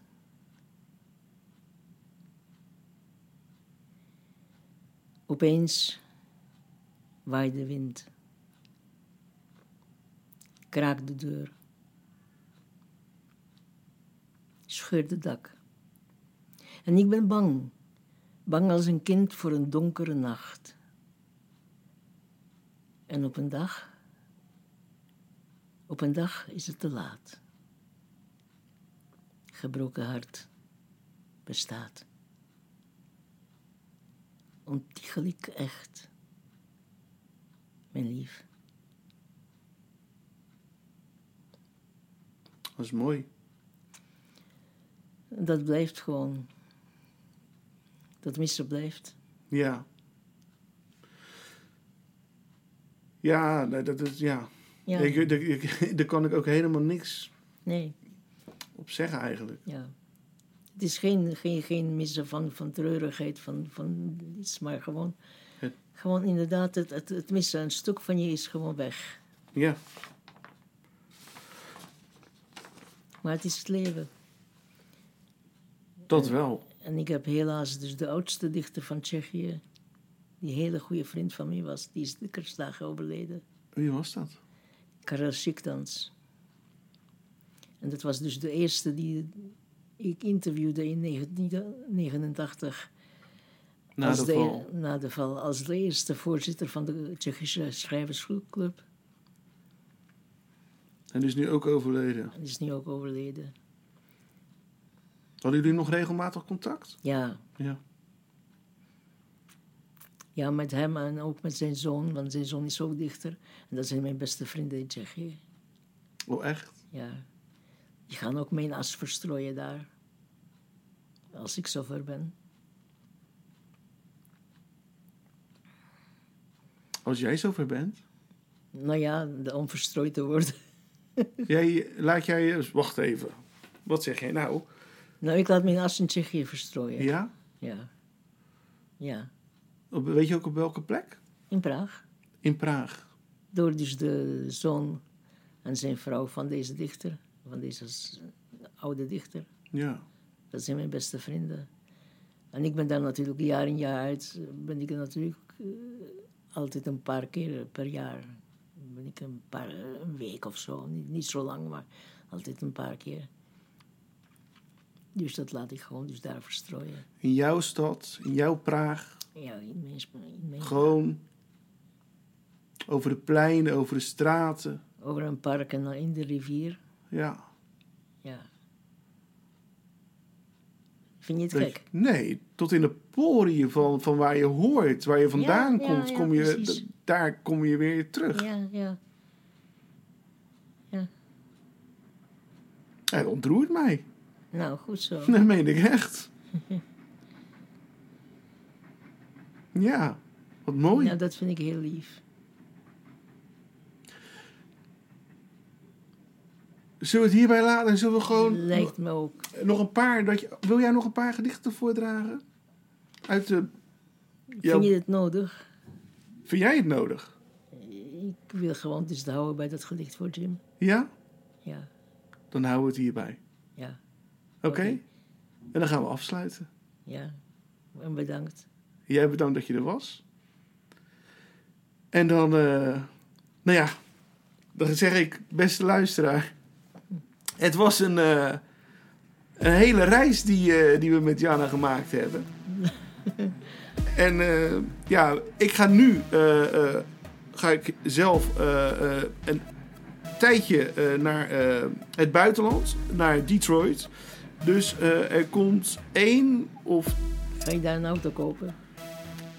Opeens waait de wind. Kraakt de deur. scheurt het dak. En ik ben bang, bang als een kind voor een donkere nacht. En op een dag, op een dag is het te laat. Gebroken hart bestaat. Ontiegelijk echt, mijn lief.
dat is mooi.
Dat blijft gewoon. Dat missen blijft.
Ja. Ja, nee, dat is, ja.
Ja,
Ik, daar, ik- daar kan ik ook helemaal niks
nee.
op zeggen eigenlijk.
Ja. Het is geen, geen, geen missen van, van treurigheid, van, van iets, maar gewoon,
Het-
gewoon inderdaad, het, het, het missen, een stuk van je is gewoon weg.
Ja,
Maar het is het leven.
dat wel.
En ik heb helaas dus de oudste dichter van Tsjechië, die hele goede vriend van mij was, die is de kerstdagen overleden,
Wie was dat?
Karel Schiktans. En dat was dus de eerste die ik interviewde in 1989.
Na
als
de val.
na de val, als de eerste voorzitter van de Tsjechische Schrijversclub.
En is nu ook overleden.
Die is nu ook overleden.
Hadden jullie nog regelmatig contact?
Ja.
Ja.
Ja, met hem en ook met zijn zoon, want zijn zoon is ook dichter. En dat zijn mijn beste vrienden in Tsjechië.
Oh, echt?
Ja. Die gaan ook mijn as verstrooien daar. Als ik zover ben.
Als jij zover bent.
Nou ja, de- om verstrooid te worden.
Jij, laat jij... eens- Wacht even. Wat zeg jij nou?
Nou, ik laat mijn as in Tsjechië verstrooien.
Ja?
Ja. Ja.
Op- weet je ook op welke plek?
In Praag.
In Praag.
door dus de zoon en zijn vrouw van deze dichter, van deze s- oude dichter.
Ja.
Dat zijn mijn beste vrienden. En ik ben daar natuurlijk jaar in jaar uit, ben ik er natuurlijk eh, altijd een paar keer per jaar. Ben ik een, paar, een week of zo, niet, niet zo lang, maar altijd een paar keer. Dus dat laat ik gewoon dus daar verstrooien.
In jouw stad, in jouw Praag.
Ja, in mijn, sp- in mijn-
Gewoon over de pleinen, over de straten.
over een park en dan in de rivier.
Ja.
Ja. Vind je het
Dat-
gek?
nee, tot in de poriën van, van waar je hoort, waar je vandaan
ja,
komt,
ja,
kom je,
precies.
d- daar kom je weer terug.
Ja, ja.
Het ontroert mij.
Nou, goed zo.
Dat meen ik echt. ja, wat mooi.
Nou, dat vind ik heel lief.
Zullen we het hierbij laten en zullen we gewoon
Lijkt me ook.
nog een paar... Dat je, wil jij nog een paar gedichten voordragen? Uit de... Jouw-
Vind je het nodig?
Vind jij het nodig?
Ik wil gewoon dus het houden bij dat gedicht voor Jim.
Ja?
Ja,
Dan houden we het hierbij.
ja,
Oké?
Oké.
En dan gaan we afsluiten.
ja. En bedankt.
Jij bedankt dat je er was. En dan, eh, nou ja, dan zeg ik, beste luisteraar. Het was een, eh, een hele reis die, eh, die we met Jana gemaakt hebben. en eh, ja, ik ga nu, eh, eh, ga ik zelf eh, eh, een tijdje eh, naar eh, het buitenland, naar Detroit. Dus eh, er komt één of
Ga je daar een auto kopen?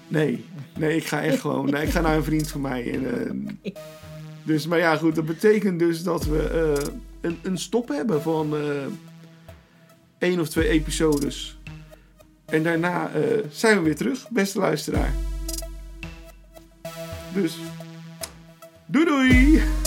Nee, nee, ik ga echt gewoon. Nee, ik ga naar een vriend van mij. En, eh, Dus, maar ja, goed, dat betekent dus dat we eh, een, een stop hebben van eh, één of twee episodes. En daarna eh, zijn we weer terug, beste luisteraar. Dus, doei doei!